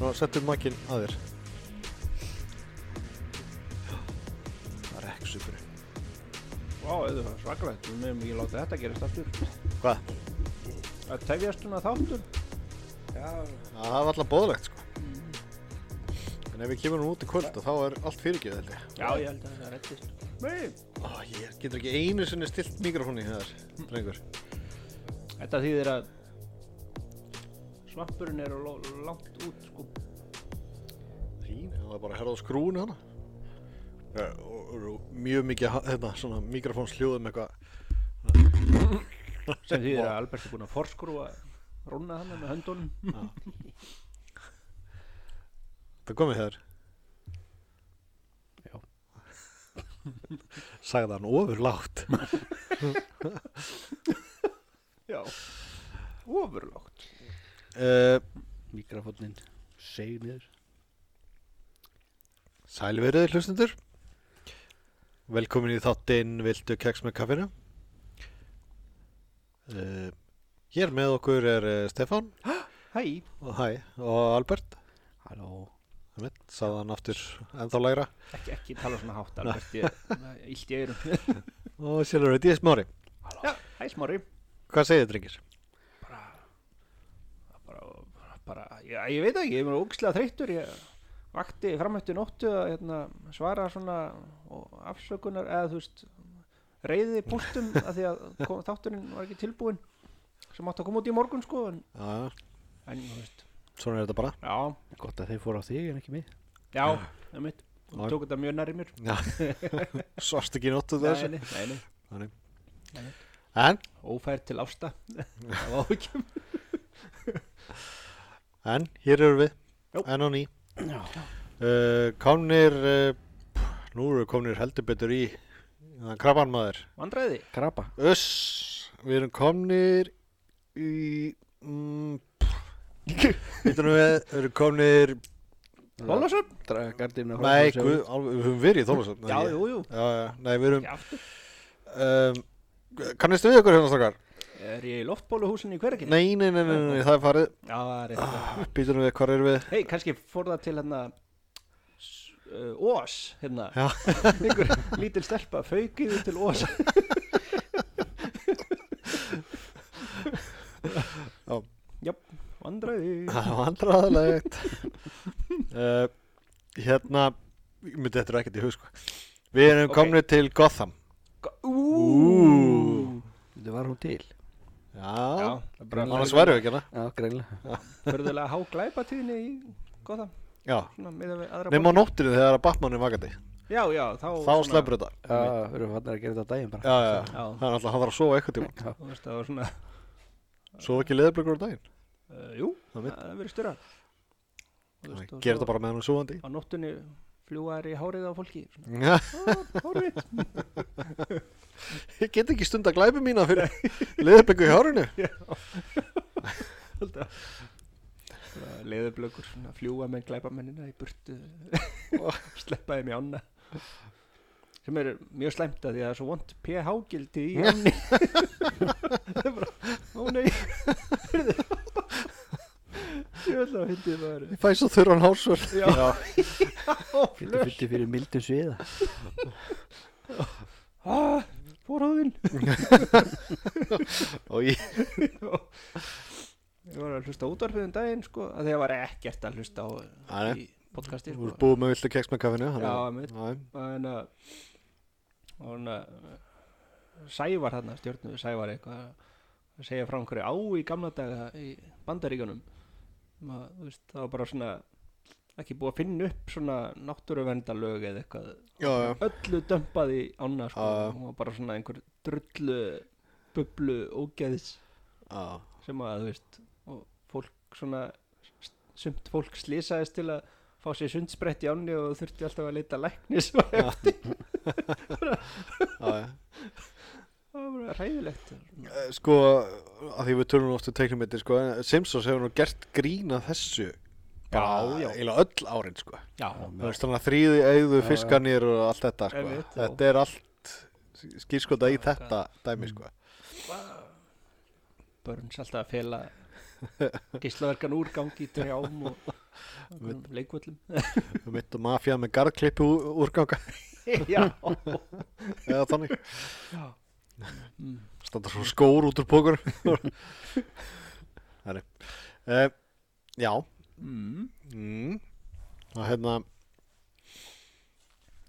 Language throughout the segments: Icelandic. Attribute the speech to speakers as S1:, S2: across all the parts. S1: Ná, settum makinn að þér. Það er ekki super.
S2: Vá, þetta var svakalegt, við meðum ekki láta þetta gerast aftur.
S1: Hvað?
S2: Að tefjast svona þáttur?
S3: Já,
S1: Það var alltaf bóðlegt, sko. En ef við kemur nú út í kvöld, þá er allt fyrirgefið, held ég.
S2: Já,
S3: já, ég held að það rettist.
S2: Nei,
S1: Ó, ég getur ekki einu sinni stilt mikrofóni í þar,
S2: Mm.
S1: drengur.
S2: þetta þýðir að svampurinn er lo- langt út, sko.
S1: Þín, það var bara að herða á skrúinu hana. Ja, og, og, og mjög mikið, ha- hérna, svona mikrofónsljóð með eitthvað.
S2: Sem þýðir að Albert er búinn að forskrúa rúna þannig með höndunum.
S1: Það komið þér.
S2: Já.
S1: Sagði hann ofur látt.
S2: Já. Ofurlágt.
S1: Uh,
S3: Mikrafónnin segir niður.
S1: Sælverið hlustendur Velkomin í þáttinn Viltu keks með kaffinu uh, Hér með okkur er uh, Stefán
S2: Hæ,
S1: og, hæ, og Albert
S3: Halló.
S1: einmitt, sagði hann aftur ennþá lægra
S2: ekki, ekki tala svona hátt, Albert, ég illt í eyrum.
S1: og sjálfur veit ég smári
S2: Já, hæ, smári.
S1: Hvað segir þið drengir?
S2: bara, bara já, ég veit ekki, ég er ógislega þreyttur ég vakti framhættu nóttu að hérna, svara svona og afsökunar eða þú veist reyði pústum að því að kom, þátturinn var ekki tilbúin sem átti að koma út í morgun sko en,
S1: Já,
S2: en þú veist,
S1: svona er þetta bara
S2: já,
S3: Gott að þeir fóru á þig en ekki mig. Ah.
S2: já, það mitt og
S1: Já.
S2: tók þetta mjög nærri mér
S1: Já. Svast ekki nóttu þessu
S2: nei, nei, nei,
S1: Þannig.
S2: Nei.
S1: En,
S2: ófært til ásta það var ekki
S1: en, hér eru við
S2: Jó.
S1: Enn og ný
S3: Já.
S1: uh, Komnir uh, pff, Nú eru komnir heldur betur í Krabban maður
S2: vandræði,
S3: Krabba.
S1: Öss, við erum komnir í mm, Þetta nú við, við erum komnir
S2: Bólasöfn
S3: Draga gardinu.
S1: Nei, guð, alveg, við höfum verið í Þólasöfn
S2: já, jú, jú,
S1: já, já, nei, við erum
S2: já, aftur
S1: um, Kannistu við ykkur hérna stakar?
S2: er ég í loftbóluhúsinu í hverginni?
S1: Nei, nei, nei, nei, nei, nei, það er farið
S2: já, það er eitthvað
S1: Býtum við, hvar erum við?
S2: Hei, kannski fór það til hérna s- uh, Ós, hérna
S1: Já.
S2: Einhver lítil stelpa faukiðu til Ós
S1: Já.
S2: Jöp, vandræði
S1: Það var vandræðalegt uh, Hérna, ég myndi þetta er ekkert í hug sko Við erum
S2: Ok.
S1: komnir til Gotham Ú.
S2: Ú
S3: Þetta var hún til.
S1: Já,
S2: Já, það er bara
S1: annars værum við ekki hana
S3: Já, greinlega.
S2: Förðulega há glæpatíðinni í Góða,
S1: Já,
S2: svona miðað við aðra
S1: nema á nóttinu þegar að Batman er vakandi
S2: borg- Já, já, þá
S1: Þá sleppur þetta
S3: Já, við erum hann að gera þetta á daginn bara.
S1: já, já, já.
S2: Já.
S1: það er alltaf, hann þarf að sofa eitthvað tíma
S2: Þú veist, það var svona,
S1: Sofa ekki leðurblökur á daginn
S2: uh, jú,
S1: Það er
S2: það
S1: mitt.
S2: er verið styrra
S1: Gerð þetta bara með hann sofandi
S2: Á nóttunni fljúar í hárið á fólki svona,
S1: Já,
S2: "Ó, Hárið,
S1: Ég get ekki stund að glæpi mína fyrir leðurblöku í hárinu
S2: leðurblökur svona fljúa með glæpamennina í burtu sleppa þeim í ána sem er mjög slæmt að því að það er svo vond pH-gildi í enni það er bara, ó nei Heyrðu. ég ætla að hindi það er
S1: Ég fæ svo þurran hársvör
S2: já,
S3: Fyrir fyrir fyrir mildum sviða.
S2: ah, fórhóðin
S1: Og ég,
S2: ég var að hlusta á útvarfið um daginn sko, að því að var ekkert að hlusta á
S1: Nei, nei.
S2: í podcasti
S1: þú
S2: sko.
S1: ert búið með viltu keks með kaffinu
S2: Já,
S1: þannig að- Já,
S2: einmitt. en að hérna, og hann að Sævar þarna, stjórnu Sævar eitthvað að segja frá einhverju á í gamla daga í bandaríkjunum um að, þú veist, það var bara svona ekki búið að finna upp svona náttúruvendarlög eða eitthvað
S1: já, já
S2: öllu dömpaði ána sko,
S1: Já, já.
S2: hún var bara svona einhver drullu bublu ógeðis
S1: Já,
S2: sem að þú veist og fólk svona sumt fólk slýsaðist til að fá sér sundsbrett í ánni og þurfti alltaf að leita læknis og það
S1: já, já
S2: var bara ræðilegt
S1: Eh, Sko, að því við tölum oft um teiknumittir sko, en Simpsons hefur nú gert grína þessu bara
S2: já.
S1: eiginlega öll árin sko
S2: já,
S1: Þú veist þannig að þrýði auðu
S3: Já, já.
S1: fiskanir og allt þetta sko.
S2: Einmitt, já.
S1: Þetta er allt skýrskota í þetta
S2: Mm.
S1: dæmi sko.
S2: börns alltaf að fela gíslaverkan úrgang í trjám og einhverjum leikvöllum
S1: Þú mitt og mafja með garðklippu úr- úrganga
S2: já,
S1: eða þannig
S2: já. Mm.
S1: standa svona skór út úr pókur Þannig uh, Já
S2: Mm.
S1: mm. og hérna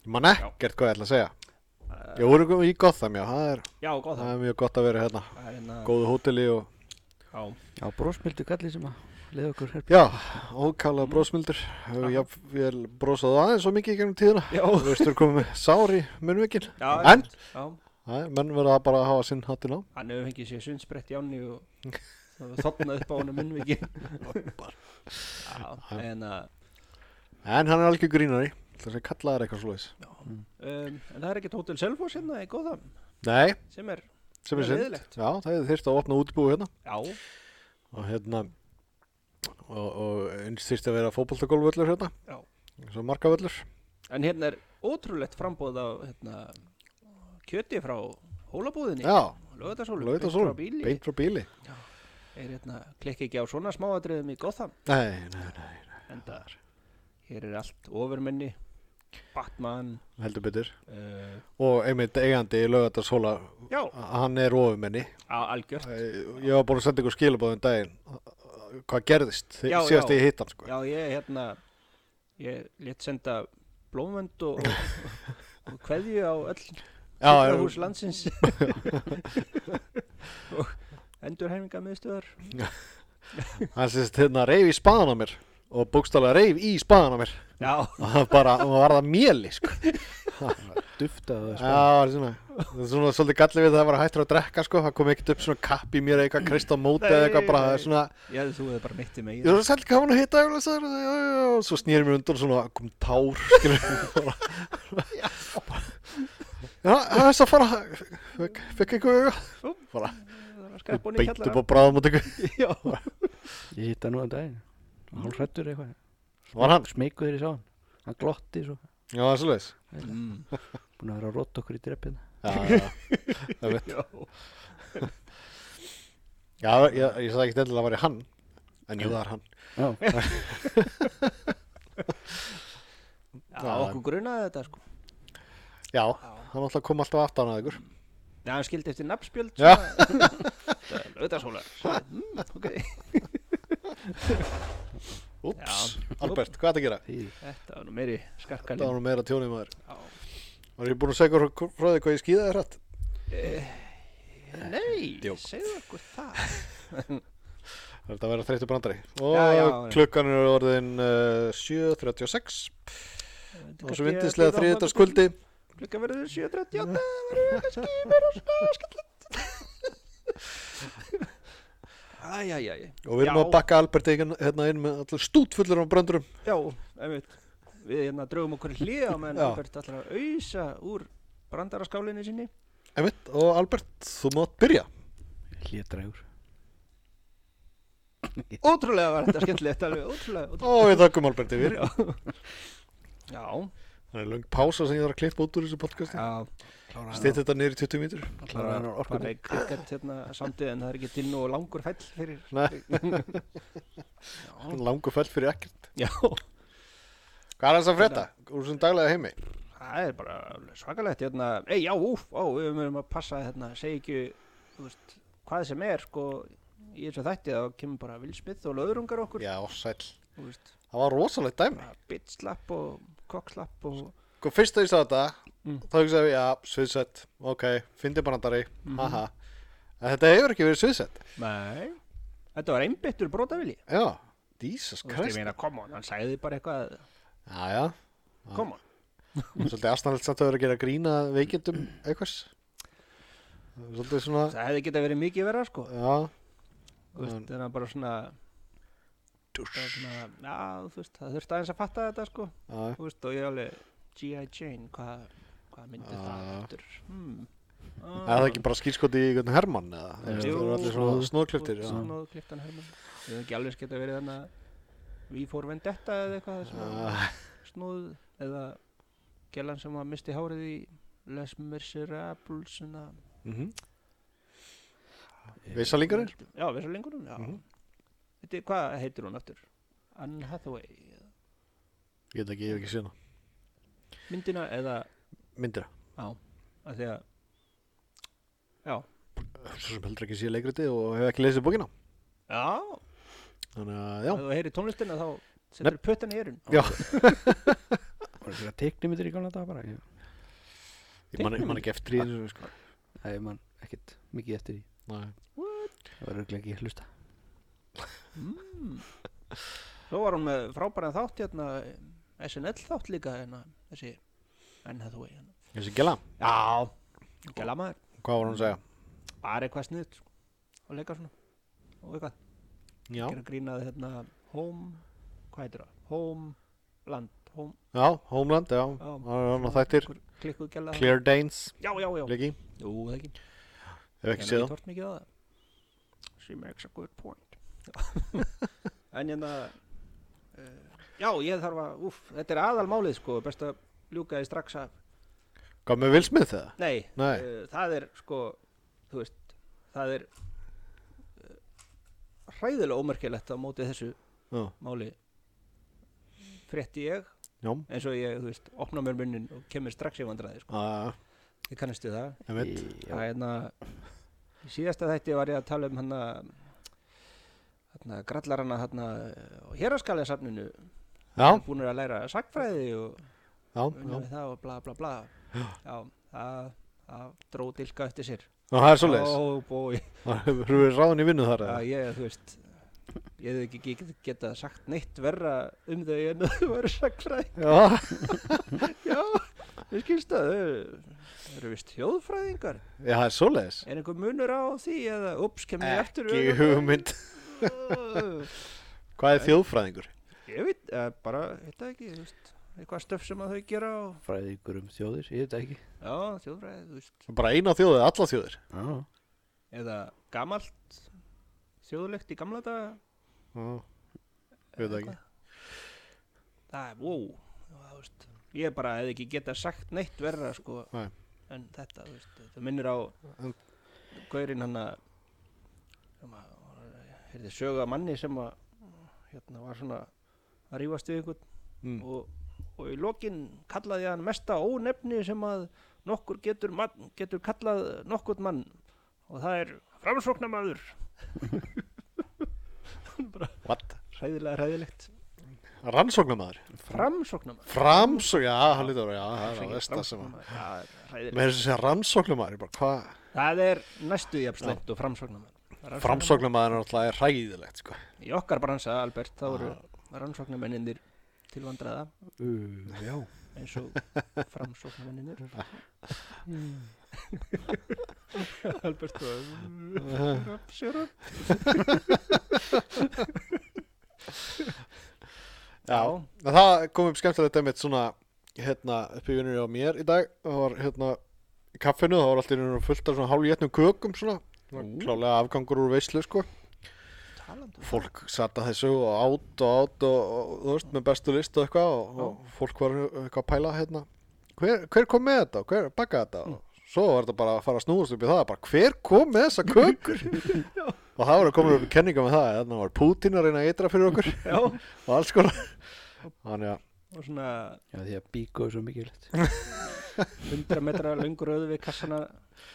S1: ég man ekkert hvað ég ætla að segja Ég voru í Gotham, já, það er,
S2: já, góð
S1: það
S2: það
S1: er mjög gott að vera hérna
S2: það er hérna
S1: góðu hóteli og
S2: já,
S3: Já, brósmildu kalli sem að leiða okkur herp
S1: já, ókálega brósmildur hefur jafnvel brósað aðeins svo mikið í gegnum tíðina
S2: Já.
S1: þú veist, þú komið með sár í munnvekil
S2: já,
S1: en,
S2: já,
S1: Æ, menn verða bara að hafa sinn hattinn á
S2: hann hefur fengið sér sundsbrett í ánni og þotnað upp á honum munnvikin já, en uh, að
S1: en hann er algjör grínari þess að kalla þær eitthvað slúðis
S2: um, en það er ekkert hótel Selfoss hérna í góðan
S1: nei,
S2: sem er,
S1: sem er
S2: Það er
S1: synd
S2: leiðilegt.
S1: já, það er þyrst að opna útbúi hérna
S2: já,
S1: og hérna og, og eins þyrst að vera fótboltagólvöllur hérna
S2: já
S1: eins og markavöllur
S2: En hérna er ótrúlegt frambóð á hérna, kjöti frá hólabúðinni
S1: já,
S2: Lögðarsólu,
S1: lögða svo,
S2: bíli
S1: beint frá bíli
S2: er hérna, klikki ekki á svona smáatriðum í Gotham
S1: nei, nei, nei,
S2: en hér er allt ofurmenni Batman
S1: heldur betur
S2: uh,
S1: og einmitt eigandi í lögðarshóla
S2: já,
S1: hann er ofumenni
S2: á algjört
S1: ég var búin að senda ykkur skilabóðum daginn hvað gerðist þi-
S2: Já,
S1: síðast
S2: já.
S1: ég hitt hann sko.
S2: já, ég hérna ég létt senda blómvend og, og, og kveðju á öll
S1: Já, já.
S2: sjúkrahús landsins og endurhæminga miðstöðar
S1: hann sést hérna reyf í spaðan á mér og bókstálega reyf í spaðan á mér
S2: já,
S1: og hann bara, hún var það mjöli sko.
S3: Duftaðu
S1: já,
S3: það
S1: það er svona, það er svona svolítið gallið við það að vera hættur að drekka sko. það kom ekkert upp svona kapp í mér eða eitthvað krist á móti eða
S2: Nei,
S1: eitthvað bara, það er
S2: nei.
S1: svona
S2: ég hefði þú hefði bara mitt í mig
S1: ég var sæll gaman að hitta og svo snýr ég mér undan og svona kom tár skilur bara, já, það er svo að fara fekk, fekk eitthvað bara,
S2: skreppunni í
S1: beint upp
S2: kjallara
S1: á bráðum og tekur
S2: já,
S3: Ég hitt það nú að daginn Hálf hrættur eitthvað
S1: var hann,
S3: Smeikuður í sá hann Hann glotti svo
S1: já, það er svo leiðis
S2: mm.
S3: Búin að vera að rotta okkur í dreppina
S1: já, já, það veit
S2: já.
S1: Já, ég, ég sagði ekki endilega að væri hann En jú, það er hann
S2: já,
S3: Já,
S1: Já.
S2: okkur grunaði þetta sko
S1: Já, hann alltaf kom alltaf aftan að ykkur
S2: já, hann skildi eftir nafnspjöld
S1: Já.
S2: löðarsólar mm, ok,
S1: Úps,
S2: Já.
S1: Albert, hvað er þetta að gera?
S3: því
S2: þetta var nú meiri
S1: Það
S2: skarkali
S1: var nú meira tjónið maður
S2: Já.
S1: Var ég búin að segja ykkur frá því hvað ég skýðaði hrætt?
S2: Eh, nei,
S1: Djók.
S2: segðu okkur það
S1: Það er þetta að vera þreyttu brandari Og
S2: Já, já, já.
S1: klukkan er orðin uh, 7.36
S2: Þetta
S1: Og
S2: kannski
S1: svo
S2: að
S1: vindislega
S2: bíða á
S1: þriðdags kvöldi
S2: morgun. klukkan verður 7.38 það verður kannski meira svona skallið æjæjæj
S1: Og við erum
S2: Já.
S1: að bakka Albert eigin, hérna inn með allir stútfullur af brandurum
S2: Já, einmitt Við hérna drögum okkur hliða meðan
S1: Já.
S2: Albert ætlar að auðsa úr brandaraskálinni sinni
S1: Einmitt, og Albert, þú mátt byrja
S3: Hlétrægur
S2: Ótrúlega var þetta skemmtilegt alveg, ótrúlega, ótrúlega.
S1: Og við þökkum Albert yfir
S2: Já,
S1: Það er löng pása sem ég þarf að klippa út úr þessu podcasti
S2: já
S1: Stýtt þetta niður í 20 mítur
S3: Klára hann á orkunni.
S2: Bara í krikett hérna samtið en það er ekki til nú langur fell fyrir
S1: Nei. Langu fell fyrir ekkert.
S2: Já,
S1: Hvað er þess að frétta?
S2: Hérna.
S1: Úr sem daglega heimi?
S2: það er bara alveg svakalegt hérna Ei, já, úf, á, við mögum að passa hérna, segi ekki, þú veist, hvað sem er sko í þessu þætti þá kemur bara vilsmið og löðrungar okkur,
S1: Já, sæll.
S2: þú veist,
S1: Það var rosalegt dæmi.
S2: bara bitslapp og kokkslapp og
S1: Sko, fyrst þegar ég sá þetta,
S2: Mm.
S1: þá hugsaði ég, já, sviðsett, ok, fyndi brandari,
S2: Mhm.
S1: haha. En þetta hefur ekki verið sviðsett.
S2: Nei Þetta var einbyttur brótavili
S1: Já, Jesus
S2: Þú veist, ég
S1: Christ.
S2: meina, come on, hann sagði bara eitthvað
S1: Já, já.
S2: Come on
S1: Svolítið astanlegt samt að vera að gera grína veikindum einhvers. Svolítið svona,
S2: Það hefði geta verið mikið verra, sko
S1: já,
S2: Þú veist, þannig að bara svona bara svona, Já, þú veist, það þurfti aðeins að fatta þetta, sko
S1: já,
S2: Þú veist, og ég alveg G.I. Jane, hvað hvað myndi það
S1: Ah.
S2: eftir hmm. Ah.
S1: Er það ekki bara skýrskoti í einhvern Hermann eða?
S3: Jú.
S1: Það eru allir svona snóðklöftir, já.
S2: Snóðu kliftan hermann Við hefði ekki alveg geta verið þannig að Við fór vendetta eða eitthvað þar sem að
S1: Já,
S2: snúð eða gellan sem að misti hárið í Les Miserables svona
S1: mhm. Eh, Veissalingurinn?
S2: Já, við svo lengurum, já
S1: Mhm.
S2: Þetta, hvað heitir hún aftur? Anne Hathaway eða
S1: Ég veit ekki, ég hef ekki síðan
S2: myndina eða
S1: Myndir
S2: á, að því að já,
S1: Svo sem heldur ekki síðan leikritið og hef ekki lesið bókina
S2: já
S1: Þannig að já
S2: ef þú heyrir tónlistina þá setur pötan í erun
S1: Já,
S3: Var það teiknumyndir í gamla daga bara? Ég,
S1: ég man, ég man ekki eftir í þessu sko.
S3: Nei, ég man ekkert mikið eftir því.
S1: Nei.
S3: Það var örglega ekki að hlusta.
S2: mm. svo var hún með frábæran þátt hérna, SNL þátt líka hérna, þessi Anne Hathaway hérna.
S1: Þessi gæla,
S2: já, gæla maður
S1: hvað var hann að segja?
S2: bara eitthvað sniðt sko. og leika svona og eitthvað
S1: Já,
S2: gera grínað hérna home, hvað heitir það, home land, home,
S1: já, Homeland, já
S2: Já.
S1: Það var hann að þættir
S2: einhver klikkuð gæla
S1: Clear Danes,
S2: já, já, já,
S1: leiki
S2: jú, það ekki
S1: Hef ekki séð það
S2: tort mikið á það she makes a good point en hérna uh, já, ég þarf að, úff, þetta er aðalmálið sko, best að ljúka því strax af
S1: Hvað með Will Smith það?
S2: nei,
S1: Nei.
S2: Uh, það er sko þú veist, það er uh, hræðilega ómerkilegt á móti þessu
S1: Já,
S2: máli frétti ég
S1: já,
S2: eins og ég, þú veist, opna mér munnin og kemur strax í vandræði, sko.
S1: að,
S2: Ég kannast við það.
S1: ég veit
S3: Í-
S2: Það
S3: já,
S2: er hérna, í síðasta þætti var ég að tala um hann að hérna, grallar hann að hérna og héraskalega safninu
S1: Já,
S2: búin að læra sagfræði og
S1: já, já
S2: unna við það og bla bla bla já, það, það dró dilka eftir sér Oh,
S1: Ná, það er svoleiðis
S2: Ó, bói.
S1: Þú verður ráðin í vinnu þar eða?
S2: Já, ég, þú veist ég hefði ekki get, geta sagt neitt verra um þau en þau væru sagfræði
S1: Já,
S2: Já, ég skilst að þau eru vist þjóðfræðingar
S1: já, það er svoleiðis
S2: Er einhver munur á því eða ups, kemur ég eftir
S1: Ekki hugmynd Hvað er þjóðfræðingur?
S2: Ég veit, eh, bara, þetta ekki, þú veist eitthvað stöf sem að þau gera og
S3: Fræðingur um þjóðir, ég veit það ekki.
S2: já, þjóðfræði, þú veist
S1: Bara eina þjóðið, alla þjóðir
S3: Já.
S2: eða gamalt þjóðlegt í gamla daga
S1: Já, ég veit það ekki
S2: það er, wow, það, þú veist ég bara hefði ekki geta sagt neitt verra sko,
S1: Nei.
S2: en þetta, þú veist það minnir á
S1: En-
S2: gaurinn hann að sem að heyrði sögu að manni sem að hérna var svona að rífast við ykkur
S1: Mm.
S2: og, og í lokin kallaði hann mesta ónefni sem að nokkur getur, mann, getur kallað nokkur mann og það er framsóknamaður
S1: What?
S2: hræðilega hræðilegt
S1: Rannsóknamaður
S2: framsóknamaður
S1: Framsókn, já, hann lítur Já, það er á
S2: Afsakið,
S1: versta sem að
S2: framsóknarmaður. Það er hræðilegt.
S1: Með þess að segja rannsóknamaður, ég bara hvað
S2: Það er næstu jafnslæmt og framsóknarmann
S1: Framsóknamaður er alltaf hræðilegt, sko
S2: Í okkar bransa, Albert, þá eru rannsóknarmenninir til vandræða
S3: Uh, já.
S2: eins og framsóknarmenninir Albert og Sjörup
S1: Já, en það kom upp skemmtilegt einmitt svona hérna upp í vinnunni á mér í dag það var hérna í kaffinu það var alltaf einhvern fullt af svona hálfjétnum kökum svona Svona
S2: Ú.
S1: klálega afgangur úr veislu sko
S2: Talandu
S1: fólk satt að þessu og át og át og, og þú veist með bestu list og eitthvað og, og fólk var eitthvað að pæla hérna hver, hver kom með þetta og hver bakaði þetta
S2: Mm.
S1: og svo var þetta bara að fara að snúast upp í það bara hver kom með þessa kökur og það var að koma upp í kenninga með það þannig var Putin að reyna að eitra fyrir okkur
S2: Já, og
S1: og alls konar þannig að
S2: svona
S3: Já, því að bíkó er svo mikilvægt.
S2: 100 metra löngur auðu við kassana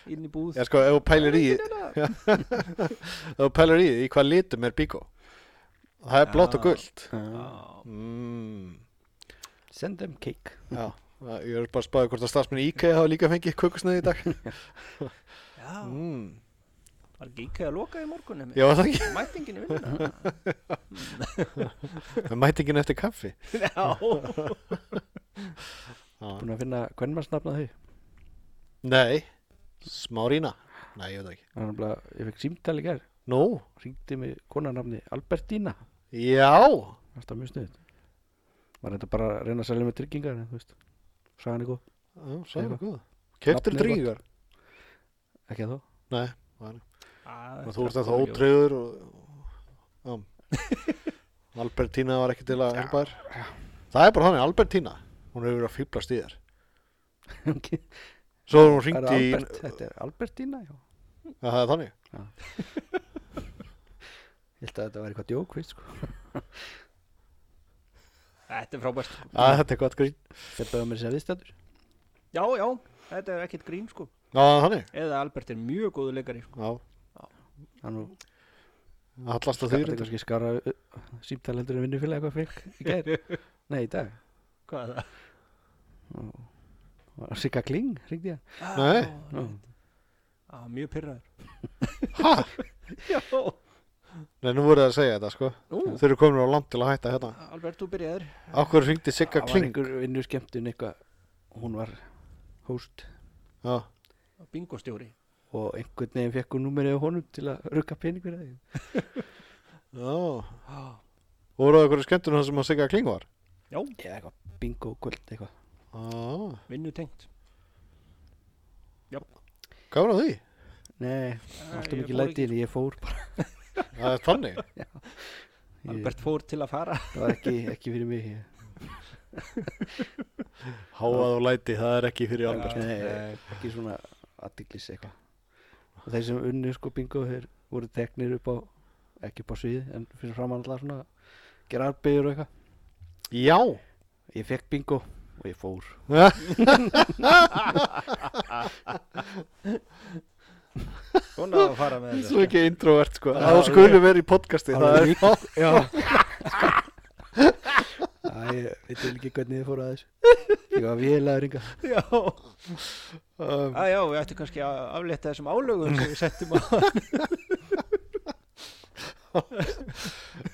S2: inn í búð
S1: Ég sko, ef þú pælir í Já. Ef þú pælir í, í hvað litum er bíkó Það er blátt og
S2: Já.
S1: gult
S2: Já,
S1: mm,
S3: Send them cake.
S1: Já, það- ég er bara að spáði hvort að starfsmenn IKEA hafa líka fengið kökusneið í dag
S2: já,
S1: mm,
S2: var ekki ekki að loka í morgun
S1: Já, var það ekki,
S2: Mætingin í vinnuna
S1: með mætingin eftir kaffi
S2: Já,
S1: Já.
S3: Búin að finna hvern maður snafna þau.
S1: Nei, smárína Nei, ég veit það ekki
S3: Það er bara, ég fekk símtæli gær.
S1: Nú,
S3: Ringdi mig konarnafni Albertína.
S1: já
S3: Alltaf mjög sniðut. Var þetta bara að reyna að selja með tryggingar, en þú veist. Sæðan ykkur,
S1: Já, Sæður
S3: Eitthvað.
S1: góð Keftir
S3: Nafnið er
S1: dringar
S3: ekki að þó.
S1: Nei, var-
S2: Ah,
S1: og þú ert þetta ótreyður og... Já Albertína var ekki til að hjálpa þér Það er bara þannig, Albertína Hún hefur verið að fýblast í þér
S3: Ok.
S1: Svo er hún
S3: Það er
S1: ringt í
S3: Albert, þetta er Albertína, já.
S1: Já, Það er þannig
S3: Ég held að þetta var eitthvað djók, veist sko.
S2: Þetta er frábært sko.
S1: að þetta er gott grín
S3: Þeir bauða mér sér viðstættur
S2: Já, já, þetta er ekkit grín sko
S1: Já, þannig,
S2: Eða Albert er mjög góðu leikari sko.
S1: já,
S3: Þannig
S1: allast að því
S3: Þetta er
S1: reyndar.
S3: kannski skara uh, símtal heldur en vinnufélag eitthvað fyrk í gær Nei, í dag
S2: Hvað er það?
S3: Og Sigga Kling, ringdi ég
S1: Nei.
S2: Já,
S3: Nú,
S2: já, mjög pyrraður
S1: Ha?
S2: Já,
S1: Nei, nú voru það að segja þetta sko
S2: nú,
S1: Þau eru komin á land til að hætta hérna
S2: Albert, þú byrjaður
S1: Akkur hringdi Sigga
S3: Það var
S1: Kling
S3: einhver vinnu skemmtun eitthvað Hún var host
S1: Já,
S2: Bingostjóri
S3: Og einhvern veginn fekk hún númerið á honum til að rukka pening fyrir það
S1: já
S2: Já,
S1: Voru það einhverju skemmtun hann sem að Sigga Kling var
S3: Eða eitthvað bingo kvöld eitthvað
S1: Já,
S2: vinnu tengt
S1: gaman að því
S3: Nei, alltaf mikið læti en ég fór bara
S1: Það er þannig
S3: ég,
S2: Albert fór til að fara
S3: Það var ekki, ekki fyrir mig ég,
S1: Háað og læti, það er ekki fyrir Albert
S3: Nei, ekki svona aðdiklis eitthvað Og þeir sem unni sko bingo þeir voru teknir upp á ekki upp á sviði en fyrir framann alltaf svona gera arbeigur og eitthvað
S1: Já
S3: Ég fekk bingo og ég fór
S2: Svona að fara með
S1: Svo
S2: þetta
S1: ekki introvert sko
S3: Já,
S1: Það skulle verið í podcasti Það
S3: Alveg
S1: er það
S3: Já Æ, ég veit ekki hvernig þið fóru að þessu Ég var vélagur yngar
S2: Já,
S1: um,
S2: að já, við ættum kannski að aflétta þessum álögum sem við settum á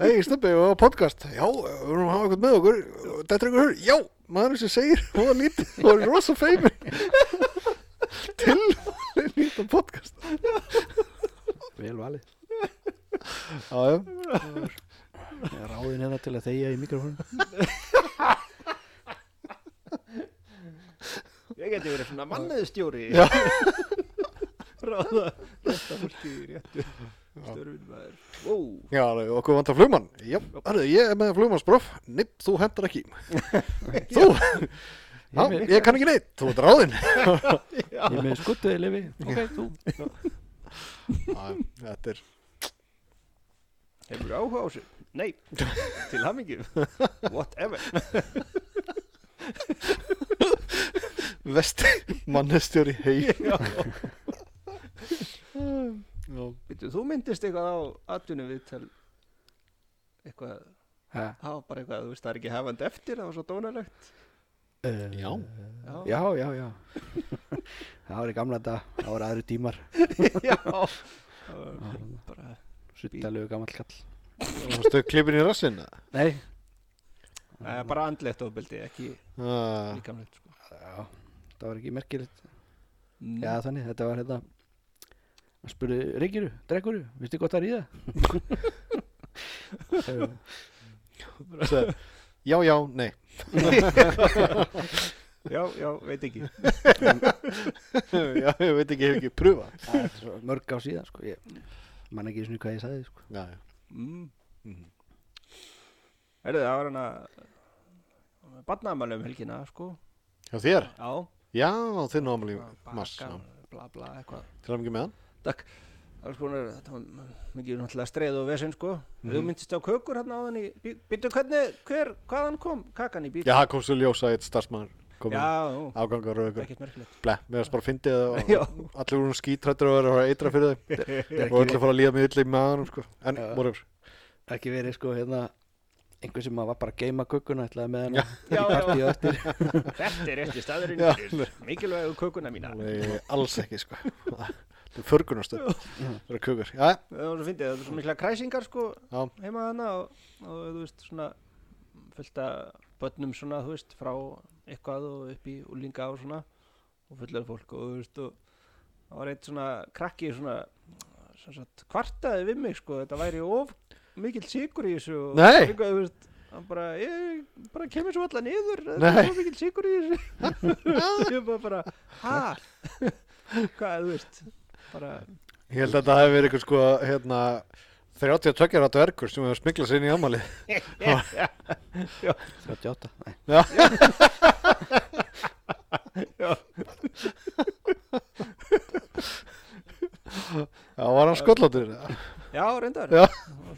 S1: Hei, steppi, við á podcast Já, við erum að hafa eitthvað með okkur Þetta er einhver hör Já, maður sem segir Hvað lítið Það er rosa feimin Til Lítið podcast
S3: Vel valið
S1: Já, já
S3: Ég er ráðin hérna til að þegja í mikrofónum
S2: Ég geti verið svona mannöðustjóri
S1: Já.
S2: Ráða Þetta fólki í réttu Störfin maður Wow
S1: Já, alveg, okkur vantar flugmann. Já, hörðu, ég er með flugmannsprof. Nipp, þú hendar ekki. þú, já,
S3: Ég er með-
S1: ég kann ekki neitt. Þú ert ráðinn.
S3: Ég er með skuttuði lefi Ok, þú
S1: Já, þetta er,
S2: Hefur áhuga á þessu? Nei Til hamingjum Whatever
S1: vest, mannestjóri hei.
S2: Já.
S1: Já,
S2: Veitu, þú myndist eitthvað á atvinnu viðtal Eitthvað
S3: ha,
S2: Það var bara eitthvað, þú veist, það er ekki hefandi eftir Það var svo dónalegt
S3: uh,
S1: Já.
S2: Já,
S3: Já, já, já Það var í gamla dag Það voru aðri tímar
S2: já. Það var Bara
S3: Suttalegu gamall kall
S1: varstu klippin í rassin?
S3: Nei
S2: Það er bara andlegt ofbeldi, ekki
S1: Já,
S2: líkamlegt sko.
S3: Já, það var ekki merkilegt
S2: Mm.
S3: Já, þannig, þetta var hérna Hann spurði, reykirðu, drekkurðu, vistu gott að ríða? Sagði,
S1: sagði, já, já, nei.
S2: já, já, veit ekki
S1: já, ég veit ekki, ég hef ekki pröfað.
S3: "Æ, þetta er svo Mörg á síðan, sko Ég man ekki svona hvað ég sagði, sko
S1: Já, já.
S2: mm.
S1: Mhm.
S2: Herðu, það var hana Barnaðamæli um helgina, sko
S1: Hjá þér?
S2: Já,
S1: Já, þinn ámali
S2: baka,
S1: mass. já.
S2: bla bla, eitthvað
S1: Til að mikið með hann.
S2: Takk Það var sko, þetta var mikið náttúrulega streið og vesinn, sko
S1: Mhm.
S2: Þú myndist á kökur hérna áðan í Býttu hvernig, hver, hvaðan kom kakan í bíl?
S1: Já, það kom svo ljósa eitt starfsmann.
S2: já,
S1: Já.
S2: ó,
S1: Ágangar og ykkur.
S2: ekkert merkilegt
S1: ble, mér varst bara að fyndi það og
S2: Já.
S1: allir voru skítrættir og verið að fara að eitra fyrir þeim
S3: Það
S1: og
S3: er
S1: allir
S3: ekki,
S1: fara að líða mjög illa í maðurum sko. en
S3: Já.
S1: voru yfir
S3: ekki verið, sko, hérna Einhver sem var bara að geima kökkuna ætlaði með hann
S2: Já, já.
S3: Partíu eftir
S2: Þetta er rétti staðurinn
S1: Já.
S2: fyrir mikilvægu kökuna mína
S1: Alveg alls ekki sko. það er förgunastöð það eru kukur já,
S2: það var svo fyndið, það var svo mikla kræsingar sko
S1: Já.
S2: heima þarna og, og þú veist svona fullt af börnum svona þú veist frá eitthvað og upp í úlinga og svona og fullar fólk og þú veist og það var eitt svona krakki svona sem sagt kvartaði við mig sko þetta væri of mikill sigur í þessu og
S1: Nei.
S2: eitthvað, þú veist hann bara, ég bara kemur svo alla niður þetta
S1: Nei.
S2: er of mikill sigur í þessu ég bara bara, ha hvað, þú veist bara,
S1: ég held að þetta hefur verið einhver sko, hérna, 32 ára dvergur sem hefur smiklað sér inn í ámalið
S3: 38, nei,
S1: já, var hann skollátur
S2: já, reyndar
S1: Já.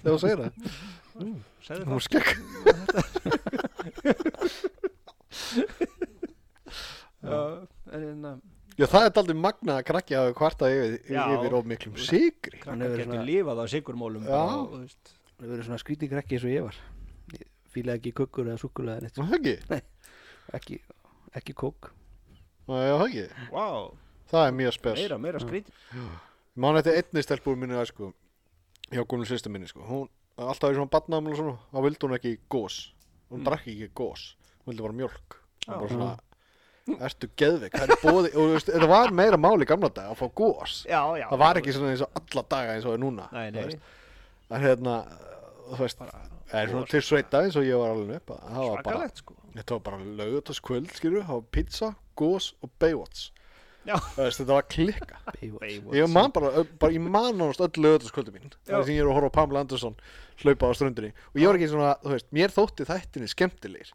S1: þegar þú segir það
S2: segðu
S1: Hún
S2: það
S1: var skegg
S2: Já, en hérna,
S1: Já, það er aldrei magnað að krakki hafi kvartað yfir,
S2: Já.
S1: yfir of miklum sigri
S2: krakka
S3: Hann hefur
S2: getur
S3: svona-
S2: lifað á sigurmólum
S1: Já.
S2: bara, og, þú veist,
S3: Það verður svona skrýtingrekki eins og ég var Ég fílaði ekki kökkur eða súkkulaði eða neitt
S1: Var Það ekki?
S3: Ekki, ekki kók
S1: Já, það ekki?
S2: wow,
S1: Það er mjög spes
S2: meira, meira skrýt
S1: Ég Man þetta einni stelpúr minni að sko hjá Gunnar sýstu minni sko hún alltaf í svona badnaðum og svona þá vildi hún ekki gós hún
S2: Mm.
S1: drakk ekki gós hún vildi bara mjólk hún bara svona
S2: Mm.
S1: ertu geðvik það er bóði og þú veist þetta var meira máli gamla dag að fá gós
S2: já, já,
S1: það var ekki svona eins og alla daga eins og er núna
S2: nei,
S1: þú
S2: nei,
S1: veist. það er hérna þú veist það er svona til sveita eins og ég var alveg upp það var bara
S2: svakalegt sko
S1: þetta var bara lögutaskvöld skilur það var pizza gós og Baywatch
S2: Já.
S1: Þú veist, þetta var klikka
S3: Baywatch
S1: Ég man bara, bara ég man nánast öll lögutaskvöldu mín Það
S2: Já.
S1: er sem ég er að horfa á Pamela Andersson hlaupa á ströndinni og ég var ekki svona, þú veist, mér þótti þættinni skemmtilegir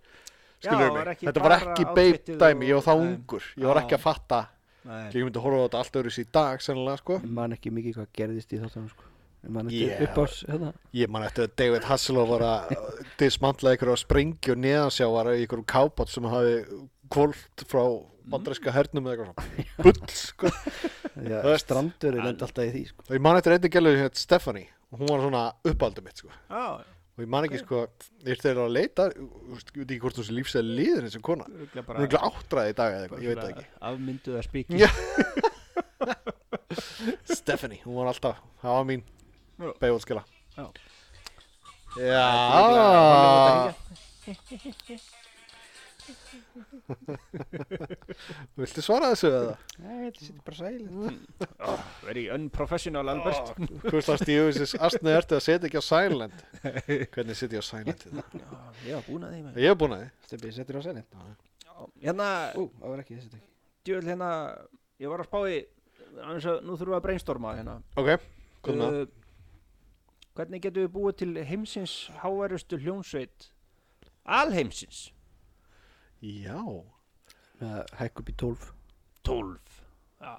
S2: Já,
S1: Skilur
S2: var
S1: mig,
S2: ekki
S1: þetta var
S2: bara
S1: ekki beip
S2: outfitið
S1: dæmi, ég var
S2: og-
S1: það
S2: Nei.
S1: ungur Ég var
S2: Já.
S1: ekki að fatta,
S2: nei,
S1: ég myndi að horfa á þetta allt öðru í dag sennilega, sko
S3: Ég man ekki mikið hvað gerðist í þáttunum sko Ég man ekki
S1: Yeah.
S3: yeah. upp ás hérna
S1: Ég man eftir að David Hasselhoff var að dismantla ykkur á springi og neðansjávar í ykkur kápat sem hafi kvolt frá
S2: Mm.
S1: bandaríska hernum eða eitthvað svona bull, sko
S3: Já,
S1: Þú veist,
S3: Strandurinn enda alltaf í því sko
S1: Og ég man eftir einnig gælu hérna Stephanie og hún var svona uppaldið mitt, sko
S2: já,
S1: og ég man ekki sko, ég þeir eru að leita þú veist, ég veit ekki hvort þú sé lífsæði liðin eins og kona hún
S2: örugglega
S1: er ekki áttræði í dag eða eitthvað, ég veit það
S2: svona afmynduða spíki
S1: Já. ekki Stephanie, hún var alltaf, það var mín
S2: Já.
S1: beigvóldskila
S2: Já.
S1: Já Viltu svara þessu eða?
S3: Nei, þetta sýtti bara sæli
S2: veri Oh, unprofessional Albert
S1: Hvort það stíðu þessi astnið ertu að setja ekki á silent Hvernig setja ég á silent í það?
S2: já, ég var búin að því maður.
S1: Ég hef búin að því
S3: Stefið, settur á sæli
S2: Já, hérna,
S3: Ú, það var ekki, þetta ekki
S2: djúvel hérna ég var að spá í aðeins að nú þurfum við að brainstorma hérna
S1: Ok, komum það
S2: Uh, hvernig getum við búið til heimsins háværustu hljónsveit alheimsins
S1: Já,
S3: Með að hækka upp í 12
S2: 12 já,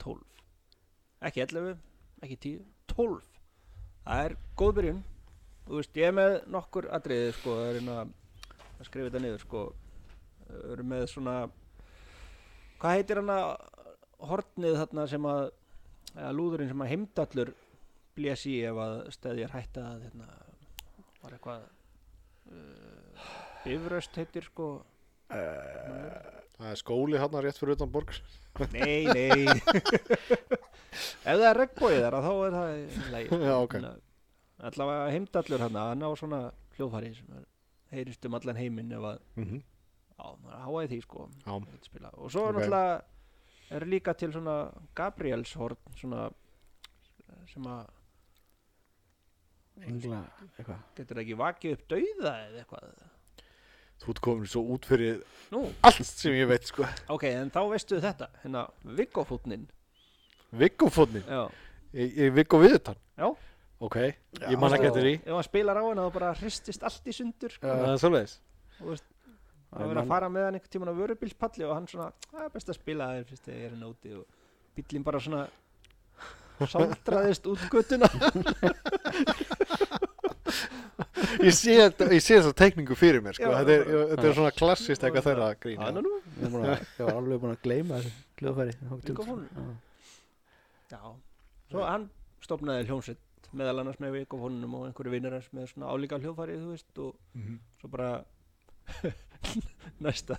S2: 12 ekki 11, ekki 10 12, það er góð byrjun þú veist, ég er með nokkur atriði, sko, það er einn að að skrifa þetta niður, sko við erum með svona hvað heitir hann að hornið þarna sem að eða lúðurinn sem að heimdallur blés í ef að stæðjar hætta að hérna, var eitthvað uh, bifröst heitir sko
S1: það er skóli hann rétt fyrir utan borg
S2: Nei, nei Ef það er regnbóið þar að þá er það í lagi.
S1: Já, ok.
S2: Þannig að Allavega heimdallur hann hann á svona hljóðfari sem er, heyrist um allan heiminn ef að
S1: mm -hmm.
S2: á, maður háaði því sko
S1: Já,
S2: að spila. og
S1: Ok.
S2: svo er náttúrulega er líka til svona Gabriels horn svona sem að
S3: Engla, eitthvað
S2: getur ekki vakið upp dauða eða eitthvað
S1: þú ert komin svo út fyrir
S2: Nú,
S1: allt sem ég veit sko
S2: ok, en þá veistu þetta hérna, Viggofútnin
S1: Viggofónni,
S2: Já,
S1: Viggo Viðutan
S2: já
S1: Ok, ég man ekki
S2: Veistu,
S1: eftir því
S2: Ef hann spilar á hana þá bara hristist allt í sundur
S3: Já.
S1: Það er svoleiðis
S2: og veist
S3: Ég
S2: Það verið
S3: man-
S2: að fara með hann einhvern tímann á vörubilspalli og hann svona, það er best að spila þér fyrst þegar ég er nóti og bíllinn bara svona saldraðist út göttuna
S1: Ég sé þetta, ég sé þessa teikningu fyrir mér sko
S2: Já,
S1: Þetta er,
S2: bara-
S1: þetta er svona klassist eitthvað þeirra grín
S2: Já, nú, nú.
S3: Ég er búinn að- ég var alveg búin að gleyma þessu hljóðfæri þangað til-
S2: Mikrofónum.
S3: Já.
S2: Já. Svo hann stopnaði hljómsveit meðal annars með vik og honum og einhverju vinnur hans með svona álíka hljófari þú veist og
S1: Mhm.
S2: svo bara næsta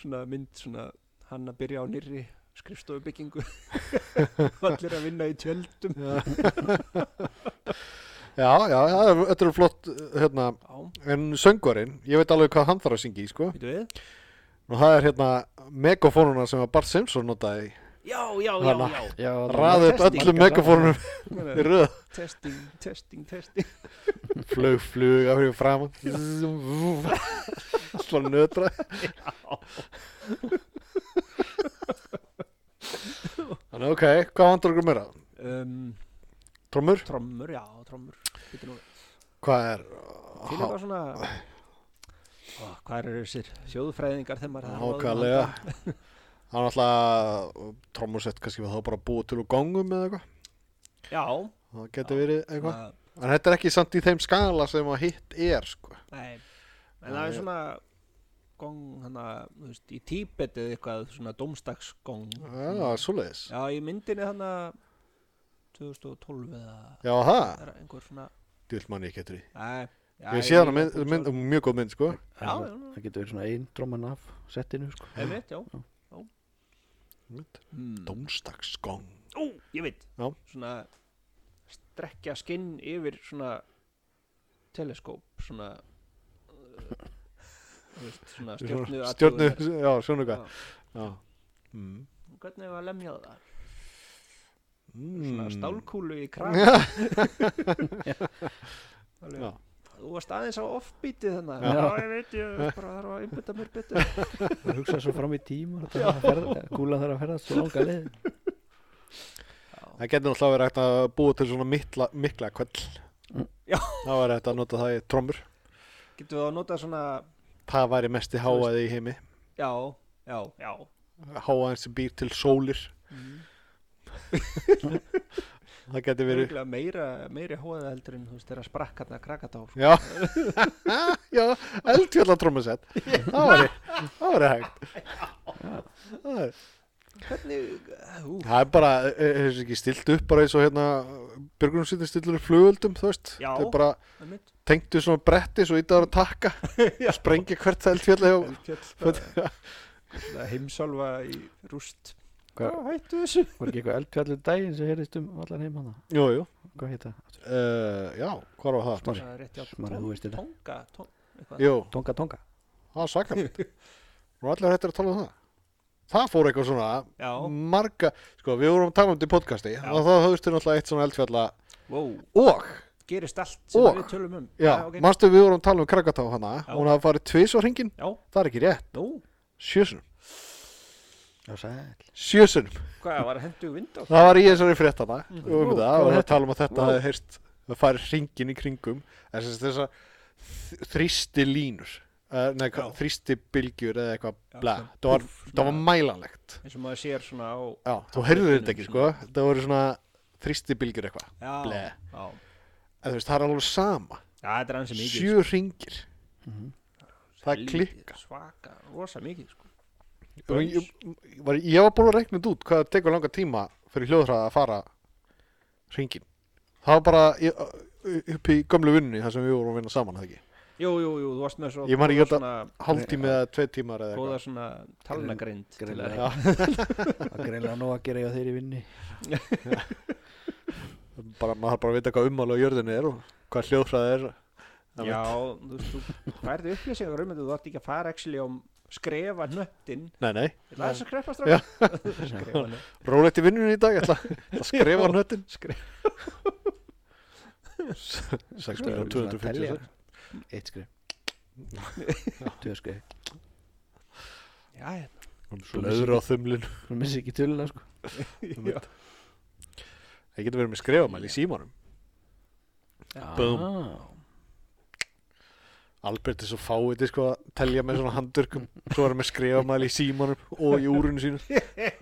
S2: svona mynd svona hann að byrja á nýrri skrifstofubyggingu og allir að vinna í tjöldum
S1: Já, já, það er- þetta er flott hérna,
S2: Já,
S1: en söngvarinn ég veit alveg hvað hann þarf að syngja í sko
S2: veitum við
S1: og það er hérna megafónuna sem að Bart Simpson notaði
S2: Já, já, já,
S1: Hana.
S2: já
S3: Já, það var-
S1: raði upp
S2: testing.
S1: öllum megafónunum
S2: Meina,
S1: í röð
S2: testing, testing, testing
S1: flög flug af hverju fram alltaf nötra þannig ok, hvað vantur okkur meira?
S2: um,
S1: trommur?
S2: trommur, já, trommur Bíddu nú,
S1: hvað er?
S2: til eitthvað svona Ó, hvað eru þessir sjóðfræðingar þegar maður þarf á þeim að um
S1: ákvæðlega
S2: halda?
S1: það er náttúrulega trommusett kannski var þá bara búið til úr gangum eða eitthvað
S2: já,
S1: það geti verið eitthvað
S2: það
S1: en þetta er ekki samt í þeim skala sem að hitt er sko.
S2: Nei, en það er
S1: Nei.
S2: svona gong, hana, þú veist, í Tíbet eða eitthvað, svona domstagsgong
S1: já, svoleiðis já,
S2: Já, í myndinni þannig að 2012 eða
S1: það,
S2: er einhver svona
S1: dýll manni ekki eftir því
S2: Nei, já,
S1: ég sé hana mynd, mynd, mjög góð mynd sko.
S2: Já, já,
S3: það,
S2: já.
S3: það getur verið svona einn dróman af settinu sko.
S2: Ég veit, já
S1: Mynd.
S2: hmm.
S1: Dómstagsgong
S2: Ó, ég veit
S1: Já.
S2: Svona strekkja skinn yfir svona teleskóp svona uh, þú veist, svona stjörnu
S1: stjörnu,
S2: athuganir.
S1: já, sjónuga
S2: Já.
S1: já. Mm.
S2: Hvernig var lemjað það? Svona
S1: Mm.
S2: stálkúlu í krak
S1: Já,
S2: Alveg.
S1: Já.
S2: Þú varst aðeins á offbeatið þannig
S3: Já.
S2: Já, ég veit, ég bara þarf að einbytta mér betur
S3: það hugsa svo fram í tíma kúlan þarf að ferða svo langa leið
S1: það getur náttúrulega verið hægt að búa til svona mitla, mikla kvöll
S2: Já.
S1: það var hægt að nota það í trommur
S2: Getum við að nota svona
S1: það væri mesti háaði í heimi
S2: Já, já, já
S1: háaðin sem býr til sólir
S2: mm.
S1: það getur verið
S2: Örugglega meira, meiri hóða heldur en þú veist þeirra sprakkarna krakatár sko.
S1: Já, já eldfjalla trommusett Það var það væri hægt Það er-
S2: Hvernig, uh, ú,
S1: það er bara, er þessi ekki stilt upp bara eins og hérna Björgunarsýttin stillur upp flugöldum, þú veist
S2: Já.
S1: Þau bara
S2: það er mitt
S1: tengdu svona bretti svo ítaður að takka Sprengja hvert eldfjalla hjá
S2: Eldfjall bara um Heimsálfa í rúst
S3: Hvað-
S2: Hvað hættu þessu?
S3: var ekki eitthvað eldfjallur daginn sem heyrðist um allan heim hana
S1: Jú, jú,
S3: hvað heit það?
S1: uh, já, hvað var það?
S3: Smári.
S2: Það er rétt hjá
S3: Smári, þú veist þetta.
S2: Tonga, Tonga eitthvað.
S1: Jú,
S3: Tonga Tonga
S1: það var svakalegt Nú allir hættir að tala um það Það fór eitthvað svona
S2: Já,
S1: marga, sko við vorum að tala um þetta í podcasti og það höfðustu náttúrulega eitt svona eldfjalla
S2: wow,
S1: og
S2: gerist allt sem
S1: Og-
S2: við tölum um
S1: Já,
S2: ok.
S1: manstu við vorum að tala um Krakatá hana
S2: Já.
S1: og hún hafði farið tvis á hringin
S2: Já,
S1: það er ekki rétt,
S2: nú,
S1: sjösunum
S3: já sæl
S1: sjösunum,
S2: hvað var að hendu vind á?
S1: það var í þessari frétt hana og
S3: Ú,
S1: um
S3: hvað
S1: það var
S3: var
S1: að tala um að þetta
S3: Vá.
S1: hafði heyrst að farið hringin í kringum þess að þessar þrýsti línur eh, nei,
S2: Já.
S1: þrýsti bylgjur eða eitthvað
S2: Já,
S1: bla,
S2: svona
S1: það var,
S2: dúff,
S1: það var
S2: svona-
S1: mælanlegt
S2: eins og maður sér svona á
S1: já, þú heyrður þetta ekki sko það voru svona þrýsti bylgjur eitthvað
S2: já,
S1: Ble.
S2: já.
S1: en þú veist, það er alveg sama,
S2: já, þetta er ansi mikið
S1: sjö hringir það
S2: Helvítið
S1: klikkar.
S2: svaka, rosa mikið sko.
S1: Og ég, var, ég var búin að reikna þetta út hvað það tekur langa tíma fyrir hljóðhraða að fara hringin það var bara ég, upp í gömlu vinnunni þar sem við vorum að vinna saman eða ekki
S2: jú, jú, jú, þú varst með svo
S1: Ég man ekki
S2: góða
S1: þetta-
S2: svona,
S1: hálftími eða tvei tímar eða
S2: góða
S1: eitthvað
S2: svona talnagrind til að-
S3: greinlega að greinlega nóg að gera ég á þeirri vinni
S1: bara, maður þarf bara að vita hvað ummála á jörðinni er og hvað hljóðhraða er Það
S2: já, þú veist, þú færði upplýsingar um þetta þú ætti ekki að fara actually á skrefa nöttin
S1: nei, nei,
S2: ég laði þess að skrefa
S1: Já.
S2: strax skrefa nött
S1: rólegt í vinnunni í dag ég ætla, ég ætla að skrifa nöttin
S2: skrefa
S1: 6
S3: Svona-
S1: minútur
S3: svona
S1: 250
S3: telja. eitt skrif tvö skrif
S2: já, hérna.
S1: blöður á þumlin
S3: þú missir ekki töluna sko
S2: já,
S1: það getur verið með skrifamæli í símanum Búm.
S3: ah,
S1: Albert er svo fáið sko að telja með svona handurkum svo er hann með skrifamæli í símanum og í úrunu sínu
S3: þú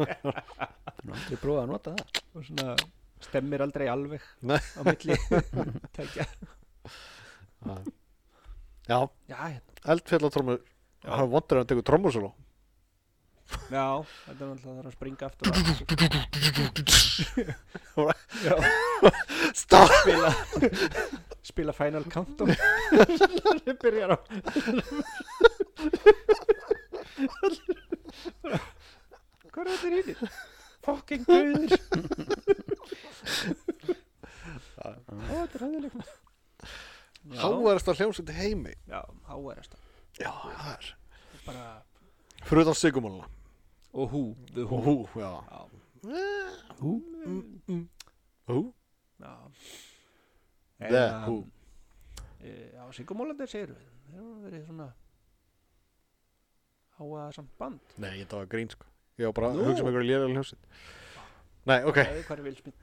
S3: er aldrei prófað að nota það
S2: og svona stemmir aldrei alveg
S1: Nei.
S2: á milli tækja
S1: Já,
S2: já, hérna.
S1: eldfjallatrómur Það er vondur að hann tekur trómursóló
S2: já, þetta er náttúrulega þarf að springa aftur og aftur. já
S1: Stopp!
S2: spila spila Final Countdown sem byrjar á hvað er þetta hýttir? fucking döðir þetta er hæðilegt já,
S1: Háverasta hljómsveit í heimi
S2: já háverasta
S1: Já, það er
S2: bara
S1: Fyrir utan sigumáluna
S2: og hú, the
S1: Og
S2: hú
S1: hú, já Mm,
S2: já,
S3: hú
S1: Hú?
S2: já
S1: The Who.
S2: e, já, Sigurmólandir segir við þeir eru verið svona háa samt band
S1: Nei, ég tók að grín sko Ég var bara
S2: Nú.
S1: að hugsa með ykkur lélega hljómsveit Nei, ok,
S2: Það er hverju vilsmið